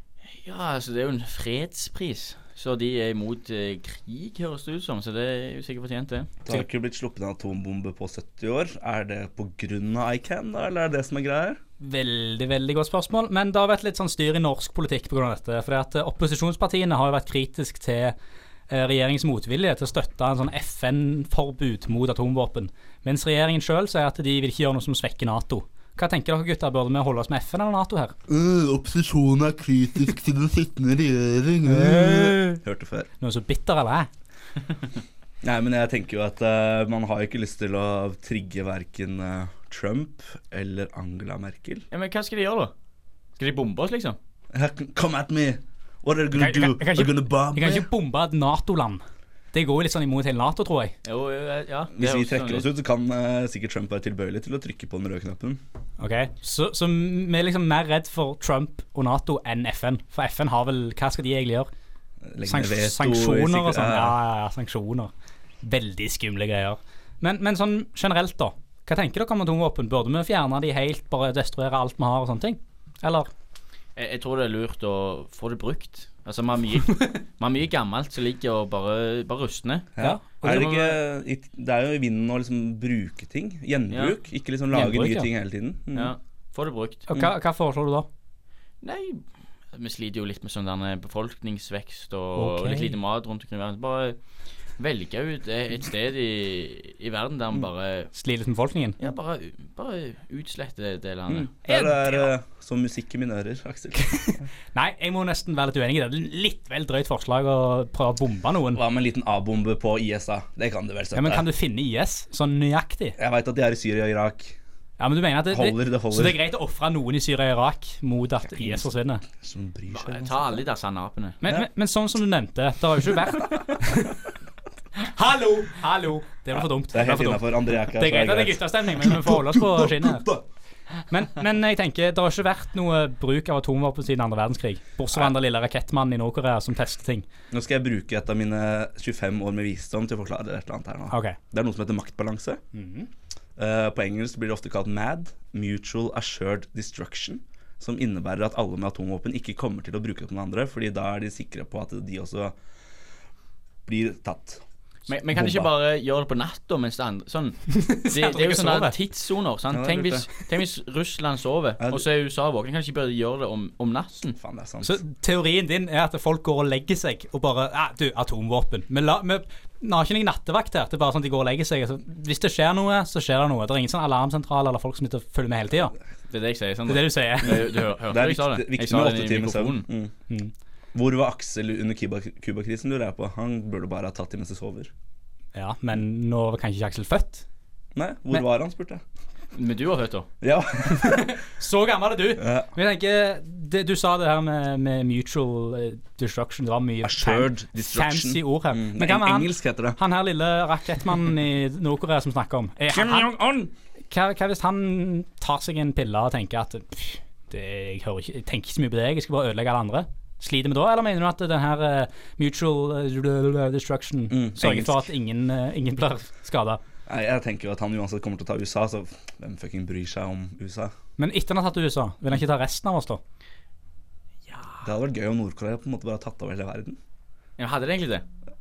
[SPEAKER 3] Ja, altså det er jo en fredspris. Så de er imot eh, krig, høres det ut som. Så det er jo sikkert fortjent, det.
[SPEAKER 4] Det har ikke blitt sluppet en atombombe på 70 år. Er det pga. ICAN, da, eller er det det som er greia her?
[SPEAKER 2] Veldig veldig godt spørsmål. Men det har vært litt sånn styr i norsk politikk pga. dette. fordi at eh, opposisjonspartiene har jo vært kritiske til eh, regjeringens motvilje til å støtte en sånn FN-forbud mot atomvåpen. Mens regjeringen sjøl sier at de vil ikke gjøre noe som svekker Nato. Hva tenker dere gutter, burde vi holde oss med FN eller Nato her?
[SPEAKER 10] Øh, opposisjonen er kritisk til den sittende
[SPEAKER 4] <laughs>
[SPEAKER 10] regjering.
[SPEAKER 4] Hørte før.
[SPEAKER 2] Noe så bitter, eller? hæ?
[SPEAKER 4] Nei, men jeg tenker jo at eh, man har jo ikke lyst til å trigge verken eh, Trump eller Angela Merkel.
[SPEAKER 3] Ja, Men hva skal de gjøre, da? Skal de bombe oss, liksom?
[SPEAKER 4] Come at me! What are you gonna
[SPEAKER 2] Jeg kan- jeg kan- jeg
[SPEAKER 4] do?
[SPEAKER 2] kan
[SPEAKER 4] You're
[SPEAKER 2] ikke-
[SPEAKER 4] gonna bomb
[SPEAKER 2] Vi kan
[SPEAKER 4] me?
[SPEAKER 2] ikke bombe et Nato-land. Det går jo litt sånn imot hele Nato, tror jeg.
[SPEAKER 3] Jo, jo, ja. det
[SPEAKER 4] Hvis vi
[SPEAKER 3] høres
[SPEAKER 4] trekker
[SPEAKER 3] sånn
[SPEAKER 4] oss ut, så kan eh, sikkert Trump være tilbøyelig til å trykke på den røde knappen.
[SPEAKER 2] Ok, Så, så vi er liksom mer redd for Trump og Nato enn FN. For FN har vel Hva skal de egentlig gjøre?
[SPEAKER 4] Legge ned
[SPEAKER 2] Sanks
[SPEAKER 4] veto i
[SPEAKER 2] sanksjoner og
[SPEAKER 4] sikkerhet-
[SPEAKER 2] sånn.
[SPEAKER 4] Ja,
[SPEAKER 2] Ja, ja, ja, sanksjoner. Veldig skumle greier. Men, men sånn generelt, da. Hva tenker dere om atomvåpen? Burde vi fjerne de helt, bare destruere alt vi har og sånne ting? Eller?
[SPEAKER 3] Jeg, jeg tror det er lurt å få det brukt. Altså, vi har
[SPEAKER 4] <laughs>
[SPEAKER 3] mye, vi har mye gammelt som ligger og bare, bare rustner.
[SPEAKER 4] Ja. Er det, ikke, i- det er jo i vinden å liksom bruke ting. Gjenbruk. Ikke liksom lage
[SPEAKER 3] Gjenbruk,
[SPEAKER 4] nye
[SPEAKER 3] ja.
[SPEAKER 4] ting hele tiden. Mm.
[SPEAKER 3] Ja, Få det brukt.
[SPEAKER 2] Og hva, hva foreslår du da?
[SPEAKER 3] Nei, vi sliter jo litt med sånn derne befolkningsvekst og
[SPEAKER 2] Ok.
[SPEAKER 3] litt lite mat rundt omkring i verden. Bare velge ut e- et sted i, i verden der
[SPEAKER 4] Mm.
[SPEAKER 3] vi bare
[SPEAKER 2] Sli litt med befolkningen?
[SPEAKER 3] Ja, bare, bare utslette det landet.
[SPEAKER 4] Der er eh, som musikk i mine ører, Aksel. <laughs>
[SPEAKER 2] Nei, jeg må nesten være litt uenig i det. Det er Litt vel drøyt forslag å prøve å bombe noen.
[SPEAKER 4] Hva med en liten A-bombe på ISA? Det kan du vel
[SPEAKER 2] Ja,
[SPEAKER 4] støtte.
[SPEAKER 2] men kan du finne IS sånn nøyaktig?
[SPEAKER 4] Jeg veit at de er i Syria og Irak.
[SPEAKER 2] Ja, men du mener at det,
[SPEAKER 4] Holder, det holder.
[SPEAKER 2] Så det er greit å ofre noen i Syria og Irak mot at IS forsvinner?
[SPEAKER 4] Som bryr seg.
[SPEAKER 3] Ta alle de sanapene.
[SPEAKER 2] Men, men, men sånn som du nevnte, det har jo ikke vært <laughs> Hallo! Hallo! Det var for dumt.
[SPEAKER 4] Det er
[SPEAKER 2] var
[SPEAKER 4] helt
[SPEAKER 2] for dumt.
[SPEAKER 4] innafor. André er ikke
[SPEAKER 2] Det er greit at det er guttastemning, men vi får holde oss på
[SPEAKER 4] <laughs>
[SPEAKER 2] skinnet. Men, men jeg tenker, det har ikke vært noe bruk av atomvåpen siden andre verdenskrig. Bortsett fra den der lille rakettmannen i Nord-Korea som tester ting.
[SPEAKER 4] Nå skal jeg bruke et av mine 25 år med visdom til å forklare et eller annet her nå.
[SPEAKER 2] Ok.
[SPEAKER 4] Det er noe som heter maktbalanse. Eh, på engelsk blir det ofte kalt MAD, Mutual Assured Destruction, som innebærer at alle med atomvåpen ikke kommer til å bruke det på noen andre, fordi da er de sikre på at de også blir tatt.
[SPEAKER 3] Men, men kan de ikke
[SPEAKER 4] Bomba.
[SPEAKER 3] bare gjøre det på natta mens det andre <laughs> sånn, det, det er
[SPEAKER 2] ikke
[SPEAKER 3] jo sånne
[SPEAKER 2] sover.
[SPEAKER 3] tidssoner. Sant?
[SPEAKER 4] Ja, det er
[SPEAKER 3] Tenk, hvis, tenk hvis Russland sover,
[SPEAKER 4] Ja, det-
[SPEAKER 3] og så er USA våken. Kan de ikke bare gjøre det om, om natten?
[SPEAKER 4] Faen, det er sant.
[SPEAKER 2] Så teorien din er at folk går og legger seg og bare ja, Du, atomvåpen. Vi la- vi- vi har ikke noen nattevakt her. Det er bare sånn at de går og legger seg. Altså, hvis det skjer noe, så skjer det noe. Det er ingen sånn alarmsentral eller folk som sitter og følger med hele tida.
[SPEAKER 3] Det er det jeg sier.
[SPEAKER 2] Det
[SPEAKER 3] Sander.
[SPEAKER 2] er det du sier.
[SPEAKER 3] Du, du hør, hørte
[SPEAKER 4] det er
[SPEAKER 3] jeg sa det.
[SPEAKER 4] viktig,
[SPEAKER 3] Jeg
[SPEAKER 4] viktig
[SPEAKER 3] sa
[SPEAKER 4] med
[SPEAKER 3] det
[SPEAKER 4] åtte
[SPEAKER 3] i
[SPEAKER 4] timer søvn.
[SPEAKER 3] mikrofonen.
[SPEAKER 4] Mm. Hvor var Aksel under Cuba- Cuba-krisen, lurer jeg på. Han burde bare ha tatt det mens jeg sover.
[SPEAKER 2] Ja, men nå var kanskje ikke Aksel født.
[SPEAKER 4] Nei, hvor
[SPEAKER 2] Men-
[SPEAKER 4] var han, spurte jeg.
[SPEAKER 3] Men du har hørt det?
[SPEAKER 4] Ja,
[SPEAKER 2] Så gammel er du.
[SPEAKER 4] Ja.
[SPEAKER 2] Men jeg tenker, det, Du sa det her med, med mutual eh, destruction. Det var mye
[SPEAKER 4] Assured
[SPEAKER 2] fan-
[SPEAKER 4] destruction.
[SPEAKER 2] fancy ord her.
[SPEAKER 4] Mm,
[SPEAKER 2] Men hva med han,
[SPEAKER 4] engelsk heter det.
[SPEAKER 2] han her lille rakettmannen i Nord-Korea som snakker om? Er han, hva, hva hvis han tar seg en pille og tenker at pff, det, jeg, hører ikke, jeg tenker ikke så mye på det, jeg skal bare ødelegge alle andre? Sliter vi da, eller mener du at den her eh, mutual eh, destruction
[SPEAKER 4] Mm,
[SPEAKER 2] sørger for
[SPEAKER 4] engelsk.
[SPEAKER 2] at ingen, eh, ingen blir skada?
[SPEAKER 4] Nei, jeg tenker jo at han uansett kommer til å ta USA, så hvem fucking bryr seg om USA?
[SPEAKER 2] Men etter han har tatt USA, vil han ikke ta resten av oss, da?
[SPEAKER 4] Det hadde vært gøy om Nord-Korea på en måte bare hadde tatt over hele verden.
[SPEAKER 3] Ja, hadde det egentlig det?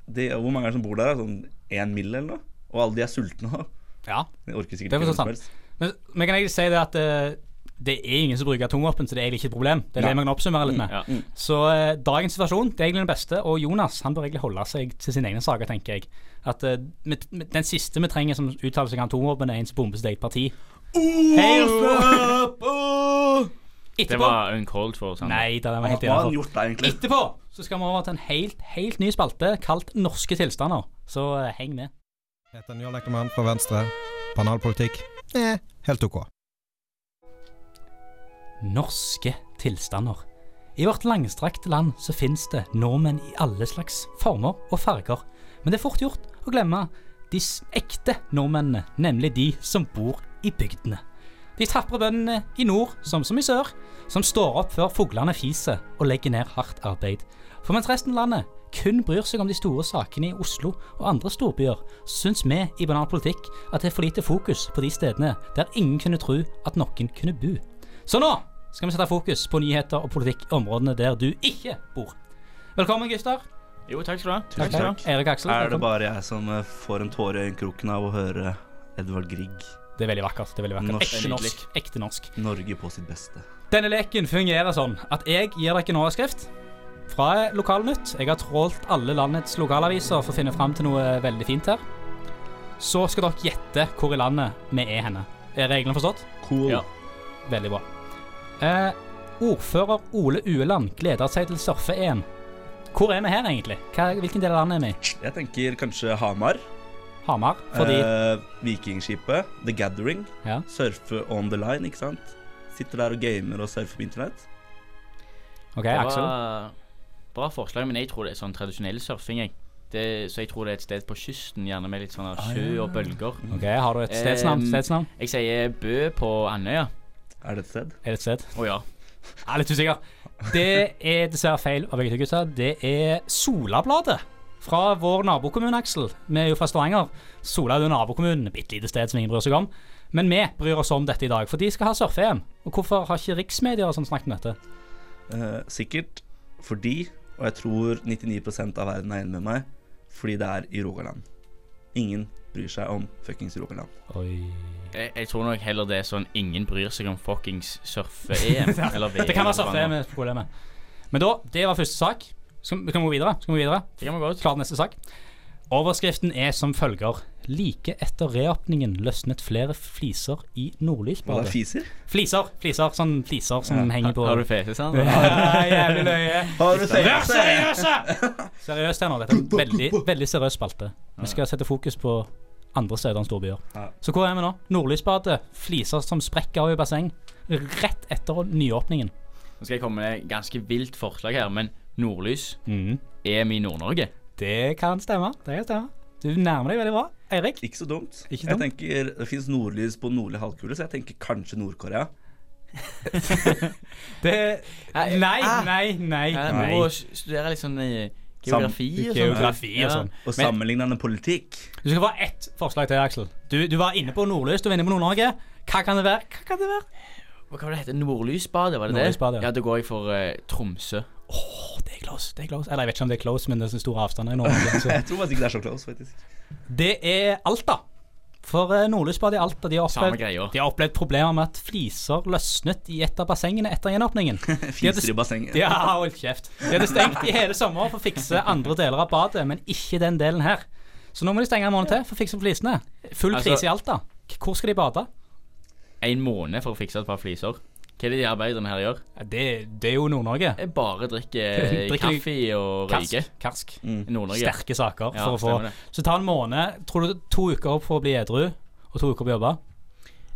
[SPEAKER 4] De, hvor mange er det som bor der? da? Sånn én mill. eller noe? Og alle de er sultne nå.
[SPEAKER 2] Ja,
[SPEAKER 4] De orker sikkert
[SPEAKER 2] Det er for
[SPEAKER 4] ikke noe
[SPEAKER 2] så sant.
[SPEAKER 4] som helst.
[SPEAKER 2] Men, men kan jeg si det at eh, det er ingen som bruker atomvåpen, så det er egentlig ikke et problem. Det er det
[SPEAKER 4] Nei.
[SPEAKER 2] vi kan oppsummere litt med.
[SPEAKER 3] Mm, Ja.
[SPEAKER 4] Mm.
[SPEAKER 2] Så eh, dagens situasjon det er egentlig den beste, og Jonas han bør egentlig holde seg til sine egne saker, tenker jeg. At eh, med, med, Den siste vi trenger som uttaler seg om atomvåpen, er en som bomber sitt eget parti. Hei, altså!
[SPEAKER 3] Det
[SPEAKER 2] Etterpå
[SPEAKER 3] var uncalled for. Sander.
[SPEAKER 2] Nei, det var
[SPEAKER 4] Hva
[SPEAKER 2] helt
[SPEAKER 4] hva har han
[SPEAKER 2] innenfor.
[SPEAKER 4] gjort da, egentlig?
[SPEAKER 2] Etterpå så skal vi over til en helt, helt ny spalte kalt Norske tilstander. Så eh, heng med.
[SPEAKER 11] Heter Njål Ekkermann fra Venstre. Banalpolitikk? Eh, helt ok.
[SPEAKER 2] Norske tilstander. I vårt langstrakte land så finnes det nordmenn i alle slags former og farger. Men det er fort gjort å glemme de s- ekte nordmennene, nemlig de som bor i bygdene. De tapre bøndene i nord, som som i sør, som står opp før fuglene fiser og legger ned hardt arbeid. For mens resten av landet kun bryr seg om de store sakene i Oslo og andre storbyer, syns vi i Banal politikk at det er for lite fokus på de stedene der ingen kunne tro at noen kunne bo. Så nå skal vi sette fokus på nyheter og politikk i områdene der du ikke bor. Velkommen, gutter.
[SPEAKER 3] Jo, takk skal du ha.
[SPEAKER 4] Tusen
[SPEAKER 3] skal du ha.
[SPEAKER 4] takk.
[SPEAKER 2] Erik Aksel.
[SPEAKER 4] Er det
[SPEAKER 2] velkommen.
[SPEAKER 4] bare jeg som eh, får en tåre i øyekroken av å høre Edvard Grieg,
[SPEAKER 2] det er veldig vakkert. det er veldig vakkert.
[SPEAKER 4] Norsk.
[SPEAKER 2] Ekte norsk. Ekte norsk.
[SPEAKER 4] Norge på sitt beste?
[SPEAKER 2] Denne leken fungerer sånn at jeg gir dere en overskrift fra Lokalnytt. Jeg har trålt alle landets lokalaviser for å finne fram til noe veldig fint her. Så skal dere gjette hvor i landet vi er henne. Er reglene forstått?
[SPEAKER 4] Cool.
[SPEAKER 3] Ja.
[SPEAKER 2] Veldig bra. Eh, ordfører Ole Ueland gleder seg til surfe-EM. Hvor er vi her, egentlig? Hva, hvilken del av landet er vi i?
[SPEAKER 4] Jeg tenker kanskje Hamar.
[SPEAKER 2] Hamar? Fordi
[SPEAKER 4] eh, Vikingskipet, The Gathering.
[SPEAKER 2] Ja.
[SPEAKER 4] Surfe on the line, ikke sant? Sitter der og gamer og surfer på internett.
[SPEAKER 2] OK,
[SPEAKER 3] Det
[SPEAKER 2] Aksel.
[SPEAKER 3] var bra forslag, men jeg tror det er sånn tradisjonell surfing. Jeg. Det, så jeg tror det er et sted på kysten, gjerne med litt sånn
[SPEAKER 4] Ah,
[SPEAKER 3] her sjø og bølger.
[SPEAKER 2] Ok, Har du et stedsnavn?
[SPEAKER 3] Ehm,
[SPEAKER 2] stedsnavn?
[SPEAKER 3] Jeg sier Bø på Andøya.
[SPEAKER 4] Er det et sted?
[SPEAKER 2] Er det et sted?
[SPEAKER 3] Å ja.
[SPEAKER 2] Jeg er litt usikker. Det er dessverre feil av begge to gutter. Det er Solabladet. Fra vår nabokommune, Aksel. Vi er jo fra Stavanger. Sola er jo nabokommunen, et bitte lite sted som ingen bryr seg om. Men vi bryr oss om dette i dag, for de skal ha surfe-EM. Og hvorfor har ikke riksmedier og sånn snakket om dette?
[SPEAKER 4] Eh, sikkert fordi, og jeg tror 99 av verden er enig med meg, fordi det er i Rogaland. Ingen bryr seg om fuckings Rogaland.
[SPEAKER 3] Jeg, jeg tror nok heller det er sånn ingen bryr seg om fuckings
[SPEAKER 2] <laughs>
[SPEAKER 3] surfe-EM.
[SPEAKER 2] Ja,
[SPEAKER 3] eller VM
[SPEAKER 2] det kan være
[SPEAKER 3] eller hva
[SPEAKER 2] surfe-EM
[SPEAKER 3] nå.
[SPEAKER 2] er problemet. Men da, det var første sak. Skal vi kan vi gå videre? Skal vi gå videre? Det kan vi gå ut. Klar til neste sak. Overskriften er som følger. Like etter reåpningen løsnet flere fliser i
[SPEAKER 4] Hva
[SPEAKER 2] Nordlysbadet.
[SPEAKER 4] er fiser?
[SPEAKER 2] Fliser. Fliser, sånn fliser som
[SPEAKER 4] Ja.
[SPEAKER 2] henger på
[SPEAKER 4] Har- har du fese, sant?
[SPEAKER 2] Ja, jævlig løye.
[SPEAKER 4] Har du fese?
[SPEAKER 2] Vær seriøse! Seriøst her nå. Dette er en veldig, veldig seriøs spalte. Vi skal sette fokus på andre steder enn storbyer. Så hvor er vi nå? Nordlysbadet. Fliser som sprekker av i basseng. Rett etter nyåpningen.
[SPEAKER 3] Nå skal jeg komme med et ganske vilt forslag her, men nordlys
[SPEAKER 2] Mhm.
[SPEAKER 3] EM i Nord-Norge.
[SPEAKER 2] Det kan stemme. Det kan stemme. Du nærmer deg veldig bra. Eirik?
[SPEAKER 4] Ikke så dumt.
[SPEAKER 2] Ikke
[SPEAKER 4] jeg
[SPEAKER 2] dumt.
[SPEAKER 4] tenker, Det fins nordlys på nordlig halvkule, så jeg tenker kanskje Nord-Korea.
[SPEAKER 2] Det Ah. Nei, nei, nei.
[SPEAKER 3] Jeg
[SPEAKER 4] nei.
[SPEAKER 3] må s- studere litt sånn eh, geografi og sånn.
[SPEAKER 2] geografi og
[SPEAKER 3] Ja.
[SPEAKER 2] sånn.
[SPEAKER 4] Og
[SPEAKER 2] Men-
[SPEAKER 4] sammenlignende politikk.
[SPEAKER 2] Du skal få ett forslag til, Aksel. Du, du var inne på Nordlys, du var inne på Nord-Norge. Hva kan det være? Hva kan det være?
[SPEAKER 3] Hva var det hette? Nordlysbadet, var det
[SPEAKER 2] Nordlysbadet,
[SPEAKER 3] det? Ja, da går jeg for eh, Tromsø.
[SPEAKER 2] Det er close. det er close. Eller jeg vet ikke om det er close, men det er så store avstander i Norge.
[SPEAKER 4] <laughs> Jeg
[SPEAKER 2] Så.
[SPEAKER 4] tror faktisk ikke det er så close, faktisk.
[SPEAKER 2] Det er Alta. For eh, Nordlysbadet i Alta de har,
[SPEAKER 4] Samme
[SPEAKER 2] opplevd, de har opplevd problemer med at fliser løsnet i et av bassengene etter gjenåpningen. De hadde
[SPEAKER 4] Fiser
[SPEAKER 2] st-
[SPEAKER 4] i bassenget.
[SPEAKER 2] Ja, hold kjeft. De hadde stengt i hele sommer for å fikse andre deler av badet, men ikke den delen her. Så nå må de stenge en måned til for å fikse flisene. Full
[SPEAKER 3] Altså-
[SPEAKER 2] krise i Alta. K- Hvor skal de bade?
[SPEAKER 3] En måned for å fikse et par fliser. Hva er det de arbeiderne her gjør?
[SPEAKER 2] Det, er jo Nord-Norge.
[SPEAKER 3] Jeg bare drikker eh,
[SPEAKER 2] <laughs> Drikker de-
[SPEAKER 3] kaffe og
[SPEAKER 2] Karsk,
[SPEAKER 3] røyker.
[SPEAKER 2] Karsk.
[SPEAKER 3] Nord-Norge.
[SPEAKER 2] Sterke saker.
[SPEAKER 3] Ja,
[SPEAKER 2] for å få.
[SPEAKER 3] stemmer det.
[SPEAKER 2] Så ta en måned. Tror du to uker på å bli edru, og to uker på å jobbe?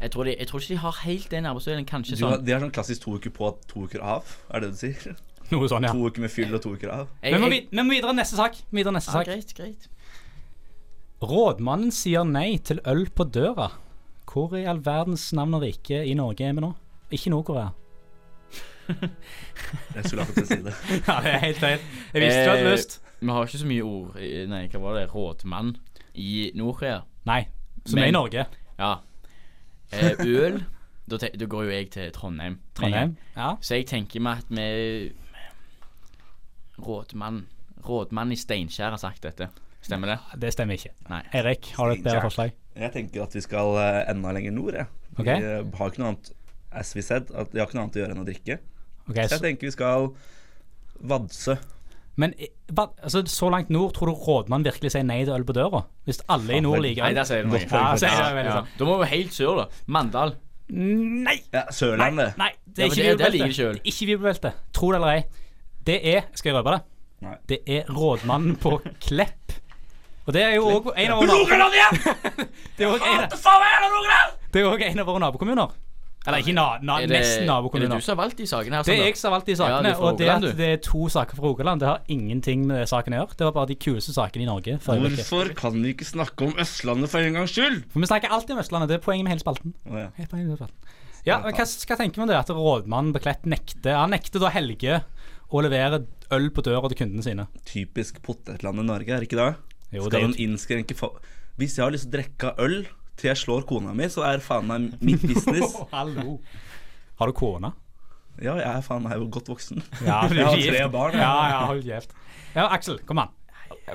[SPEAKER 3] Jeg tror, de, jeg tror ikke de har helt den arbeidsdelen. Kanskje
[SPEAKER 4] Du, har-
[SPEAKER 3] sånn.
[SPEAKER 4] de har sånn klassisk to uker på, to uker av. Er det det du sier?
[SPEAKER 2] Noe sånn, ja.
[SPEAKER 4] <laughs> To uker med fyll og to uker av.
[SPEAKER 2] Vi må, vid vi må videre neste sak. Videre neste
[SPEAKER 3] Ja,
[SPEAKER 2] sak.
[SPEAKER 3] greit, greit.
[SPEAKER 2] Rådmannen sier nei til øl på døra. Hvor i all verdens navn og rike i Norge er vi nå? Ikke Nord-Korea.
[SPEAKER 4] Jeg skulle akkurat si
[SPEAKER 2] <laughs>
[SPEAKER 4] det.
[SPEAKER 2] <laughs> ja, det er helt feil. Jeg visste du hadde
[SPEAKER 3] Eh,
[SPEAKER 2] lyst.
[SPEAKER 3] Vi har ikke så mye ord i- Nei, hva var det? Rådmann i Nord-Korea.
[SPEAKER 2] Nei, som er i Norge.
[SPEAKER 3] Ja. <laughs> Eh, øl da, te- da går jo jeg til Trondheim.
[SPEAKER 2] Trondheim, ja.
[SPEAKER 3] Så jeg tenker meg at vi Rådmann Rådmann i Steinkjer har sagt dette. Stemmer det?
[SPEAKER 2] Det stemmer ikke.
[SPEAKER 3] Nei.
[SPEAKER 2] Eirik, har du et bedre forslag?
[SPEAKER 4] Jeg tenker at vi skal eh, enda lenger nord. Jeg. Vi
[SPEAKER 2] Ok.
[SPEAKER 4] eh, har ikke noe annet as we said, at vi har ikke noe annet å gjøre enn å drikke.
[SPEAKER 2] Ok,
[SPEAKER 4] så
[SPEAKER 2] så-
[SPEAKER 4] jeg tenker vi skal Vadsø.
[SPEAKER 2] Men i- hva- altså, så langt nord, tror du rådmannen virkelig sier nei til øl på døra? Hvis alle i nord liker øl?
[SPEAKER 3] Nei, der sier du noe.
[SPEAKER 2] Ja, sier jeg veldig sant.
[SPEAKER 3] Da må vi helt sør, da. Mandal.
[SPEAKER 2] Nei!
[SPEAKER 4] Ja, Sørlandet.
[SPEAKER 2] Nei, det
[SPEAKER 3] Ja,
[SPEAKER 2] er
[SPEAKER 3] men
[SPEAKER 2] ikke
[SPEAKER 3] det- der
[SPEAKER 2] bibelbeltet.
[SPEAKER 3] ligger
[SPEAKER 2] Det er ikke bibelbeltet. Tro det eller ei. Det er Skal jeg røpe det?
[SPEAKER 4] Nei.
[SPEAKER 2] Det er rådmannen på Klepp. Og det er jo òg en av våre
[SPEAKER 1] Rogaland
[SPEAKER 2] igjen! det er også en, det er også en av våre nabokommuner. Eller ikke na, na,
[SPEAKER 3] Er det-
[SPEAKER 2] nesten nabokommuner.
[SPEAKER 3] er det du som har valgt de sakene her,
[SPEAKER 2] Det er
[SPEAKER 3] Sander?
[SPEAKER 2] jeg som har valgt de sakene.
[SPEAKER 3] Ja, du får
[SPEAKER 2] og det
[SPEAKER 3] Rogaland,
[SPEAKER 2] at
[SPEAKER 3] du.
[SPEAKER 2] det er to saker fra Rogaland, det har ingenting med saken å gjøre. Det var bare de kuleste sakene i Norge. forrige uke.
[SPEAKER 4] Hvorfor kan vi ikke snakke om Østlandet for en gangs skyld?
[SPEAKER 2] For vi snakker alltid om Østlandet. Det er poenget med hele spalten.
[SPEAKER 4] Å, ja.
[SPEAKER 2] Helt poenget med hele spalten. Ja, men hva, hva tenker vi om det at rådmannen på Klepp nekter Han nekter da Helge å levere øl på døra til kundene sine.
[SPEAKER 4] Typisk potetlandet Norge, er det ikke det?
[SPEAKER 2] Jo, det
[SPEAKER 4] skal
[SPEAKER 2] er
[SPEAKER 4] de innskrenke fa- Hvis jeg har lyst til å drikke øl til jeg slår kona mi, så er faen meg mitt business.
[SPEAKER 2] Hallo. Har du kone?
[SPEAKER 4] Ja, jeg er faen meg jo godt voksen.
[SPEAKER 2] <laughs> Ja, du er
[SPEAKER 4] jeg har
[SPEAKER 2] gift.
[SPEAKER 4] tre barn. jeg.
[SPEAKER 2] Ja, ja, hold kjeft. Ja, Aksel, kom an.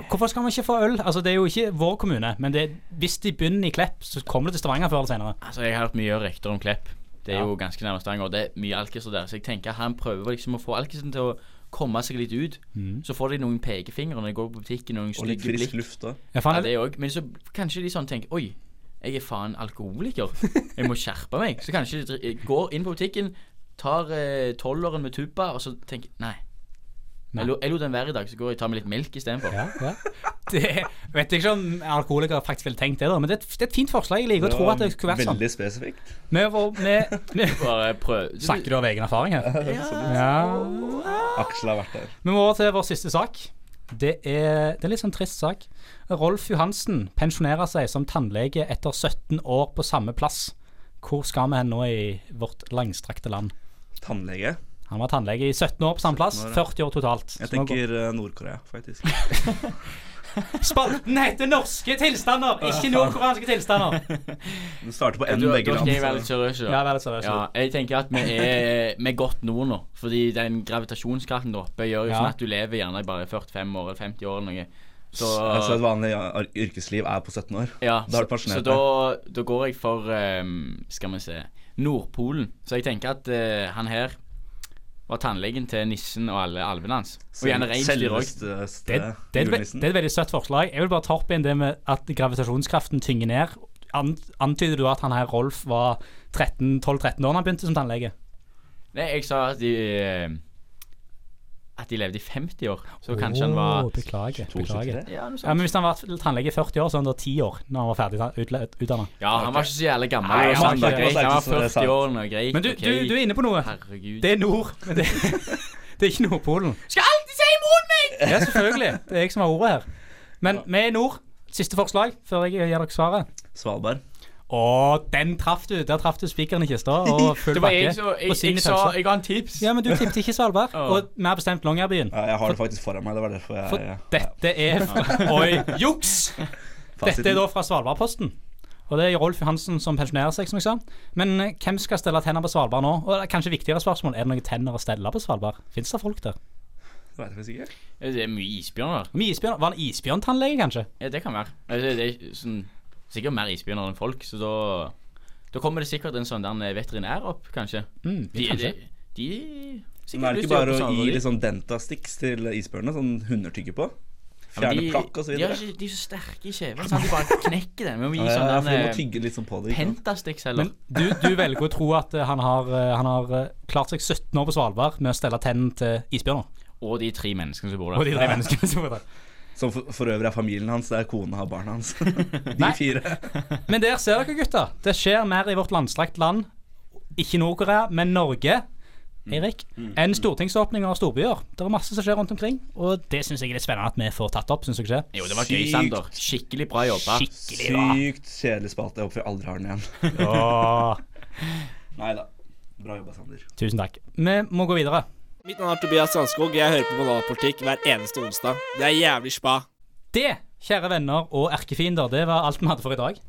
[SPEAKER 2] Hvorfor skal vi ikke få øl? Altså, Det er jo ikke vår kommune, men det er, hvis de begynner i Klepp, så kommer det til Stavanger før eller senere.
[SPEAKER 3] Altså, jeg har hørt mye rykter om Klepp. Det er
[SPEAKER 2] Ja.
[SPEAKER 3] jo ganske nærme Stavanger, og det er mye alkiser der. Så jeg tenker han prøver liksom å få alkisen til å komme seg litt ut.
[SPEAKER 2] Mhm.
[SPEAKER 3] Så får de noen pekefingre når de går på butikken, noen
[SPEAKER 4] Mm. Og litt
[SPEAKER 3] stygge
[SPEAKER 4] frisk
[SPEAKER 3] blikk.
[SPEAKER 4] luft òg.
[SPEAKER 2] Ja, faen,
[SPEAKER 3] Ja, det òg. Men så kanskje de sånn tenker Oi, jeg er faen alkoholiker. Jeg må skjerpe meg. Så kanskje de dri- går inn på butikken, tar eh, tolveren med tuppa, og så tenker Nei.
[SPEAKER 2] Nei.
[SPEAKER 3] Jeg lo- jeg lot den være i dag, så går jeg og tar meg litt melk istedenfor.
[SPEAKER 2] Ja, ja. <laughs> Det, vet ikke om alkoholikere faktisk ville tenkt det, da, men det er, et, det er et fint forslag. Jeg liker å tro at det skulle vært sånn.
[SPEAKER 4] Veldig spesifikt.
[SPEAKER 2] Vi var, vi, vi,
[SPEAKER 3] Bare prøv.
[SPEAKER 2] Snakker du av egen erfaring her? Ja.
[SPEAKER 4] Aksel har vært der.
[SPEAKER 2] Vi må over til vår siste sak. Det er, det er litt sånn trist sak. Rolf Johansen pensjonerer seg som tannlege etter 17 år på samme plass. Hvor skal vi hen nå i vårt langstrakte land?
[SPEAKER 4] Tannlege.
[SPEAKER 2] Han var tannlege i 17 år på samme plass,
[SPEAKER 4] 17 år, ja.
[SPEAKER 2] 40 år totalt.
[SPEAKER 4] Jeg
[SPEAKER 2] Så nå går-
[SPEAKER 4] tenker eh, Nord-Korea, faktisk.
[SPEAKER 2] Spalten heter 'Norske tilstander', ikke nordkoreanske tilstander.
[SPEAKER 4] Du starter på N,
[SPEAKER 3] Da-
[SPEAKER 4] begge
[SPEAKER 3] da skal jeg være
[SPEAKER 4] land.
[SPEAKER 3] litt seriøs. da.
[SPEAKER 2] Ja, vær litt seriøs,
[SPEAKER 3] Ja,
[SPEAKER 2] da.
[SPEAKER 3] jeg tenker at vi er, vi er godt nord nå. Fordi den gravitasjonskraften der oppe gjør jo
[SPEAKER 4] Ja.
[SPEAKER 3] sånn at du lever gjerne bare 45 år eller 50 år eller noe. Så,
[SPEAKER 4] altså, et vanlig ja, ar- yrkesliv er på 17 år.
[SPEAKER 3] ja,
[SPEAKER 4] da er
[SPEAKER 3] så, så
[SPEAKER 4] du pensjonert.
[SPEAKER 3] da, da går jeg for ehm, Skal vi se Nordpolen. Så jeg tenker at eh, han her var tannlegen til nissen og alle alvene hans. Og gjerne reinsdyr
[SPEAKER 4] Selveste-
[SPEAKER 2] Det,
[SPEAKER 3] òg.
[SPEAKER 2] det, er et ve- det er et veldig søtt forslag. Jeg vil bare ta opp igjen det med at gravitasjonskraften tynger ned. An, antyder du at han her Rolf var 13 12-13 år da han begynte som tannlege?
[SPEAKER 3] Nei, jeg sa at de eh, At de levde i 50 år. Så kanskje han
[SPEAKER 2] Åh,
[SPEAKER 3] var
[SPEAKER 2] Beklager. beklager.
[SPEAKER 3] Ja, noe sånt.
[SPEAKER 2] Oh. Ja, men Hvis han var tannlege i 40 år, så var han da 10 år når han var ferdig utdanna.
[SPEAKER 3] Ja, han var ikke så jævlig gammel.
[SPEAKER 2] Nei,
[SPEAKER 3] og
[SPEAKER 2] han var
[SPEAKER 3] sånn,
[SPEAKER 2] ikke
[SPEAKER 3] da,
[SPEAKER 2] det.
[SPEAKER 3] greit. Han var
[SPEAKER 2] Det er sant.
[SPEAKER 3] 40 år nå, greit.
[SPEAKER 2] Men du,
[SPEAKER 3] ok.
[SPEAKER 2] du, du er inne på noe.
[SPEAKER 3] Herregud.
[SPEAKER 2] Det er nord. Men det, <laughs> det er ikke Nordpolen.
[SPEAKER 3] Skal alltid si imot meg!
[SPEAKER 2] Ja, selvfølgelig. Det er jeg som har ordet her. Men vi er i nord. Siste forslag før jeg gir dere svaret.
[SPEAKER 4] Svalbard.
[SPEAKER 2] Å, den traff du. Der traff du spikeren i kista.
[SPEAKER 3] <laughs>
[SPEAKER 2] Og full
[SPEAKER 3] Det var
[SPEAKER 2] bakke.
[SPEAKER 3] jeg som- jeg-
[SPEAKER 2] og svin i
[SPEAKER 3] jeg sa-
[SPEAKER 2] pølsa.
[SPEAKER 3] jeg ga en tips.
[SPEAKER 2] Ja, men du tippet ikke Svalbard.
[SPEAKER 3] Ja.
[SPEAKER 2] Og mer bestemt Longyearbyen.
[SPEAKER 4] Ja, jeg har det faktisk foran meg. Det var derfor jeg
[SPEAKER 2] For dette
[SPEAKER 3] <laughs>
[SPEAKER 2] er fra- Oi, juks! Dette er da fra Svalbardposten. Og det er Rolf Johansen som pensjonerer seg, som jeg sa. Men eh, hvem skal stelle tenner på Svalbard nå? Og det er kanskje viktigere spørsmål, er det noen tenner å stelle på Svalbard? Fins det folk der?
[SPEAKER 4] Det vet jeg faktisk ikke.
[SPEAKER 3] Det er mye isbjørner.
[SPEAKER 2] Mye isbjørn- Var han isbjørntannlege, kanskje?
[SPEAKER 3] Ja, det kan være. Altså, det er sånn, sikkert mer isbjørner enn folk, så da Da kommer det sikkert en sånn der veterinær opp, kanskje.
[SPEAKER 2] Mm,
[SPEAKER 3] de,
[SPEAKER 2] kanskje.
[SPEAKER 3] De, de
[SPEAKER 4] Men er det ikke bare å gi litt sånn dentastix til isbjørnene, sånn hunder tygger på?
[SPEAKER 3] Ja, men
[SPEAKER 4] Fjerne
[SPEAKER 3] de-
[SPEAKER 4] plakk og så
[SPEAKER 3] de har
[SPEAKER 4] videre.
[SPEAKER 3] ikke- De er så sterke i kjeven, sant? de bare knekker den. Vi må
[SPEAKER 4] Ja,
[SPEAKER 3] gi
[SPEAKER 4] ja,
[SPEAKER 3] sånn
[SPEAKER 4] ja, for de må
[SPEAKER 3] der, eh,
[SPEAKER 4] tygge litt sånn på det. ikke sant?
[SPEAKER 3] Pentasticks, eller?
[SPEAKER 2] Men du, du velger å tro at eh, han har, eh, han har eh, klart seg 17 år på Svalbard med å stelle tennene til isbjørner.
[SPEAKER 3] Og de tre menneskene som bor der.
[SPEAKER 2] Og de tre menneskene som var der.
[SPEAKER 4] Som for, for øvrig er familien hans, det er kona og barna hans. <laughs> De
[SPEAKER 2] Nei.
[SPEAKER 4] fire.
[SPEAKER 2] Men der ser dere, gutter. Det skjer mer i vårt landstrakt land. Ikke Nord-Korea, men Norge. Erik, enn stortingsåpninger av storbyer. Det er masse som skjer rundt omkring, og det syns jeg er litt spennende at vi får tatt opp. Synes dere ikke?
[SPEAKER 3] Jo, det var gøy, Sander. Skikkelig bra jobba.
[SPEAKER 2] Skikkelig bra.
[SPEAKER 4] Sykt kjedelig spalte. Jeg håper jeg aldri har den igjen.
[SPEAKER 2] Åh,
[SPEAKER 4] Nei da. Bra jobba, Sander.
[SPEAKER 2] tusen takk. Vi må gå videre.
[SPEAKER 9] Mitt navn er Tobias Strandskog. Jeg hører på banalpolitikk hver eneste onsdag. Det er jævlig spa.
[SPEAKER 2] Det, kjære venner og erkefiender, det var alt vi hadde for i dag.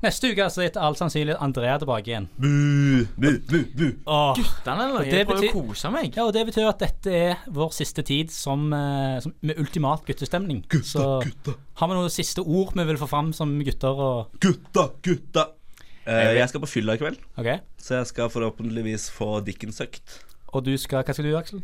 [SPEAKER 2] Neste uke så er altså etter all sannsynlighet Andrea tilbake igjen.
[SPEAKER 4] Bu, bu, bu, bu.
[SPEAKER 2] Åh.
[SPEAKER 3] Guttene, eller? Jeg prøver å kose meg.
[SPEAKER 2] Ja, og det betyr at dette er vår siste tid som, eh, som, med ultimat guttestemning. Gutta, så gutta. har vi noen siste ord vi vil få fram som gutter? Og,
[SPEAKER 4] Gutta, gutta. Eh, jeg skal på fylla i kveld,
[SPEAKER 2] Ok.
[SPEAKER 4] så jeg skal forhåpentligvis få dikken søkt.
[SPEAKER 2] og du skal, hva skal du, Aksel?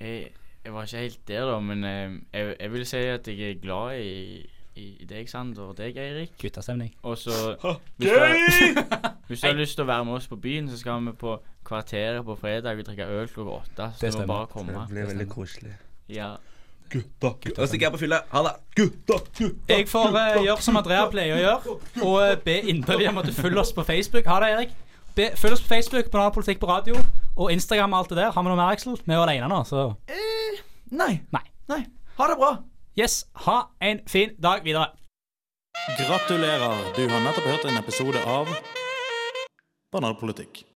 [SPEAKER 3] Jeg, jeg var ikke helt der, da, men eh, jeg, jeg vil si at jeg er glad i, i, i deg, Sander, og deg, Eirik.
[SPEAKER 2] Guttastemning.
[SPEAKER 3] Og så hvis, du har- <laughs> hvis du har lyst til å være med oss på byen, så skal vi på Kvarteret på fredag. Vi drikker øl klokka åtte. Så du må bare komme.
[SPEAKER 4] Det blir veldig koselig.
[SPEAKER 3] Ja.
[SPEAKER 4] Gutta, gutta. Da stikker jeg på fylla. Ha det. Gutta, gutta.
[SPEAKER 2] Jeg får eh, gjøre som Andrea pleier å gjøre, og eh, be inderlig om at du følger oss på Facebook. Ha det, Erik. Be, følg oss på Facebook, på Politikk på radio og Instagram og alt det der. Har vi noe mer, Aksel? Vi er alene nå, så
[SPEAKER 3] Eh, Nei.
[SPEAKER 2] Nei.
[SPEAKER 3] Nei. Ha det bra.
[SPEAKER 2] Yes, ha en fin dag videre.
[SPEAKER 7] Gratulerer, du har nettopp hørt en episode av Banalpolitikk.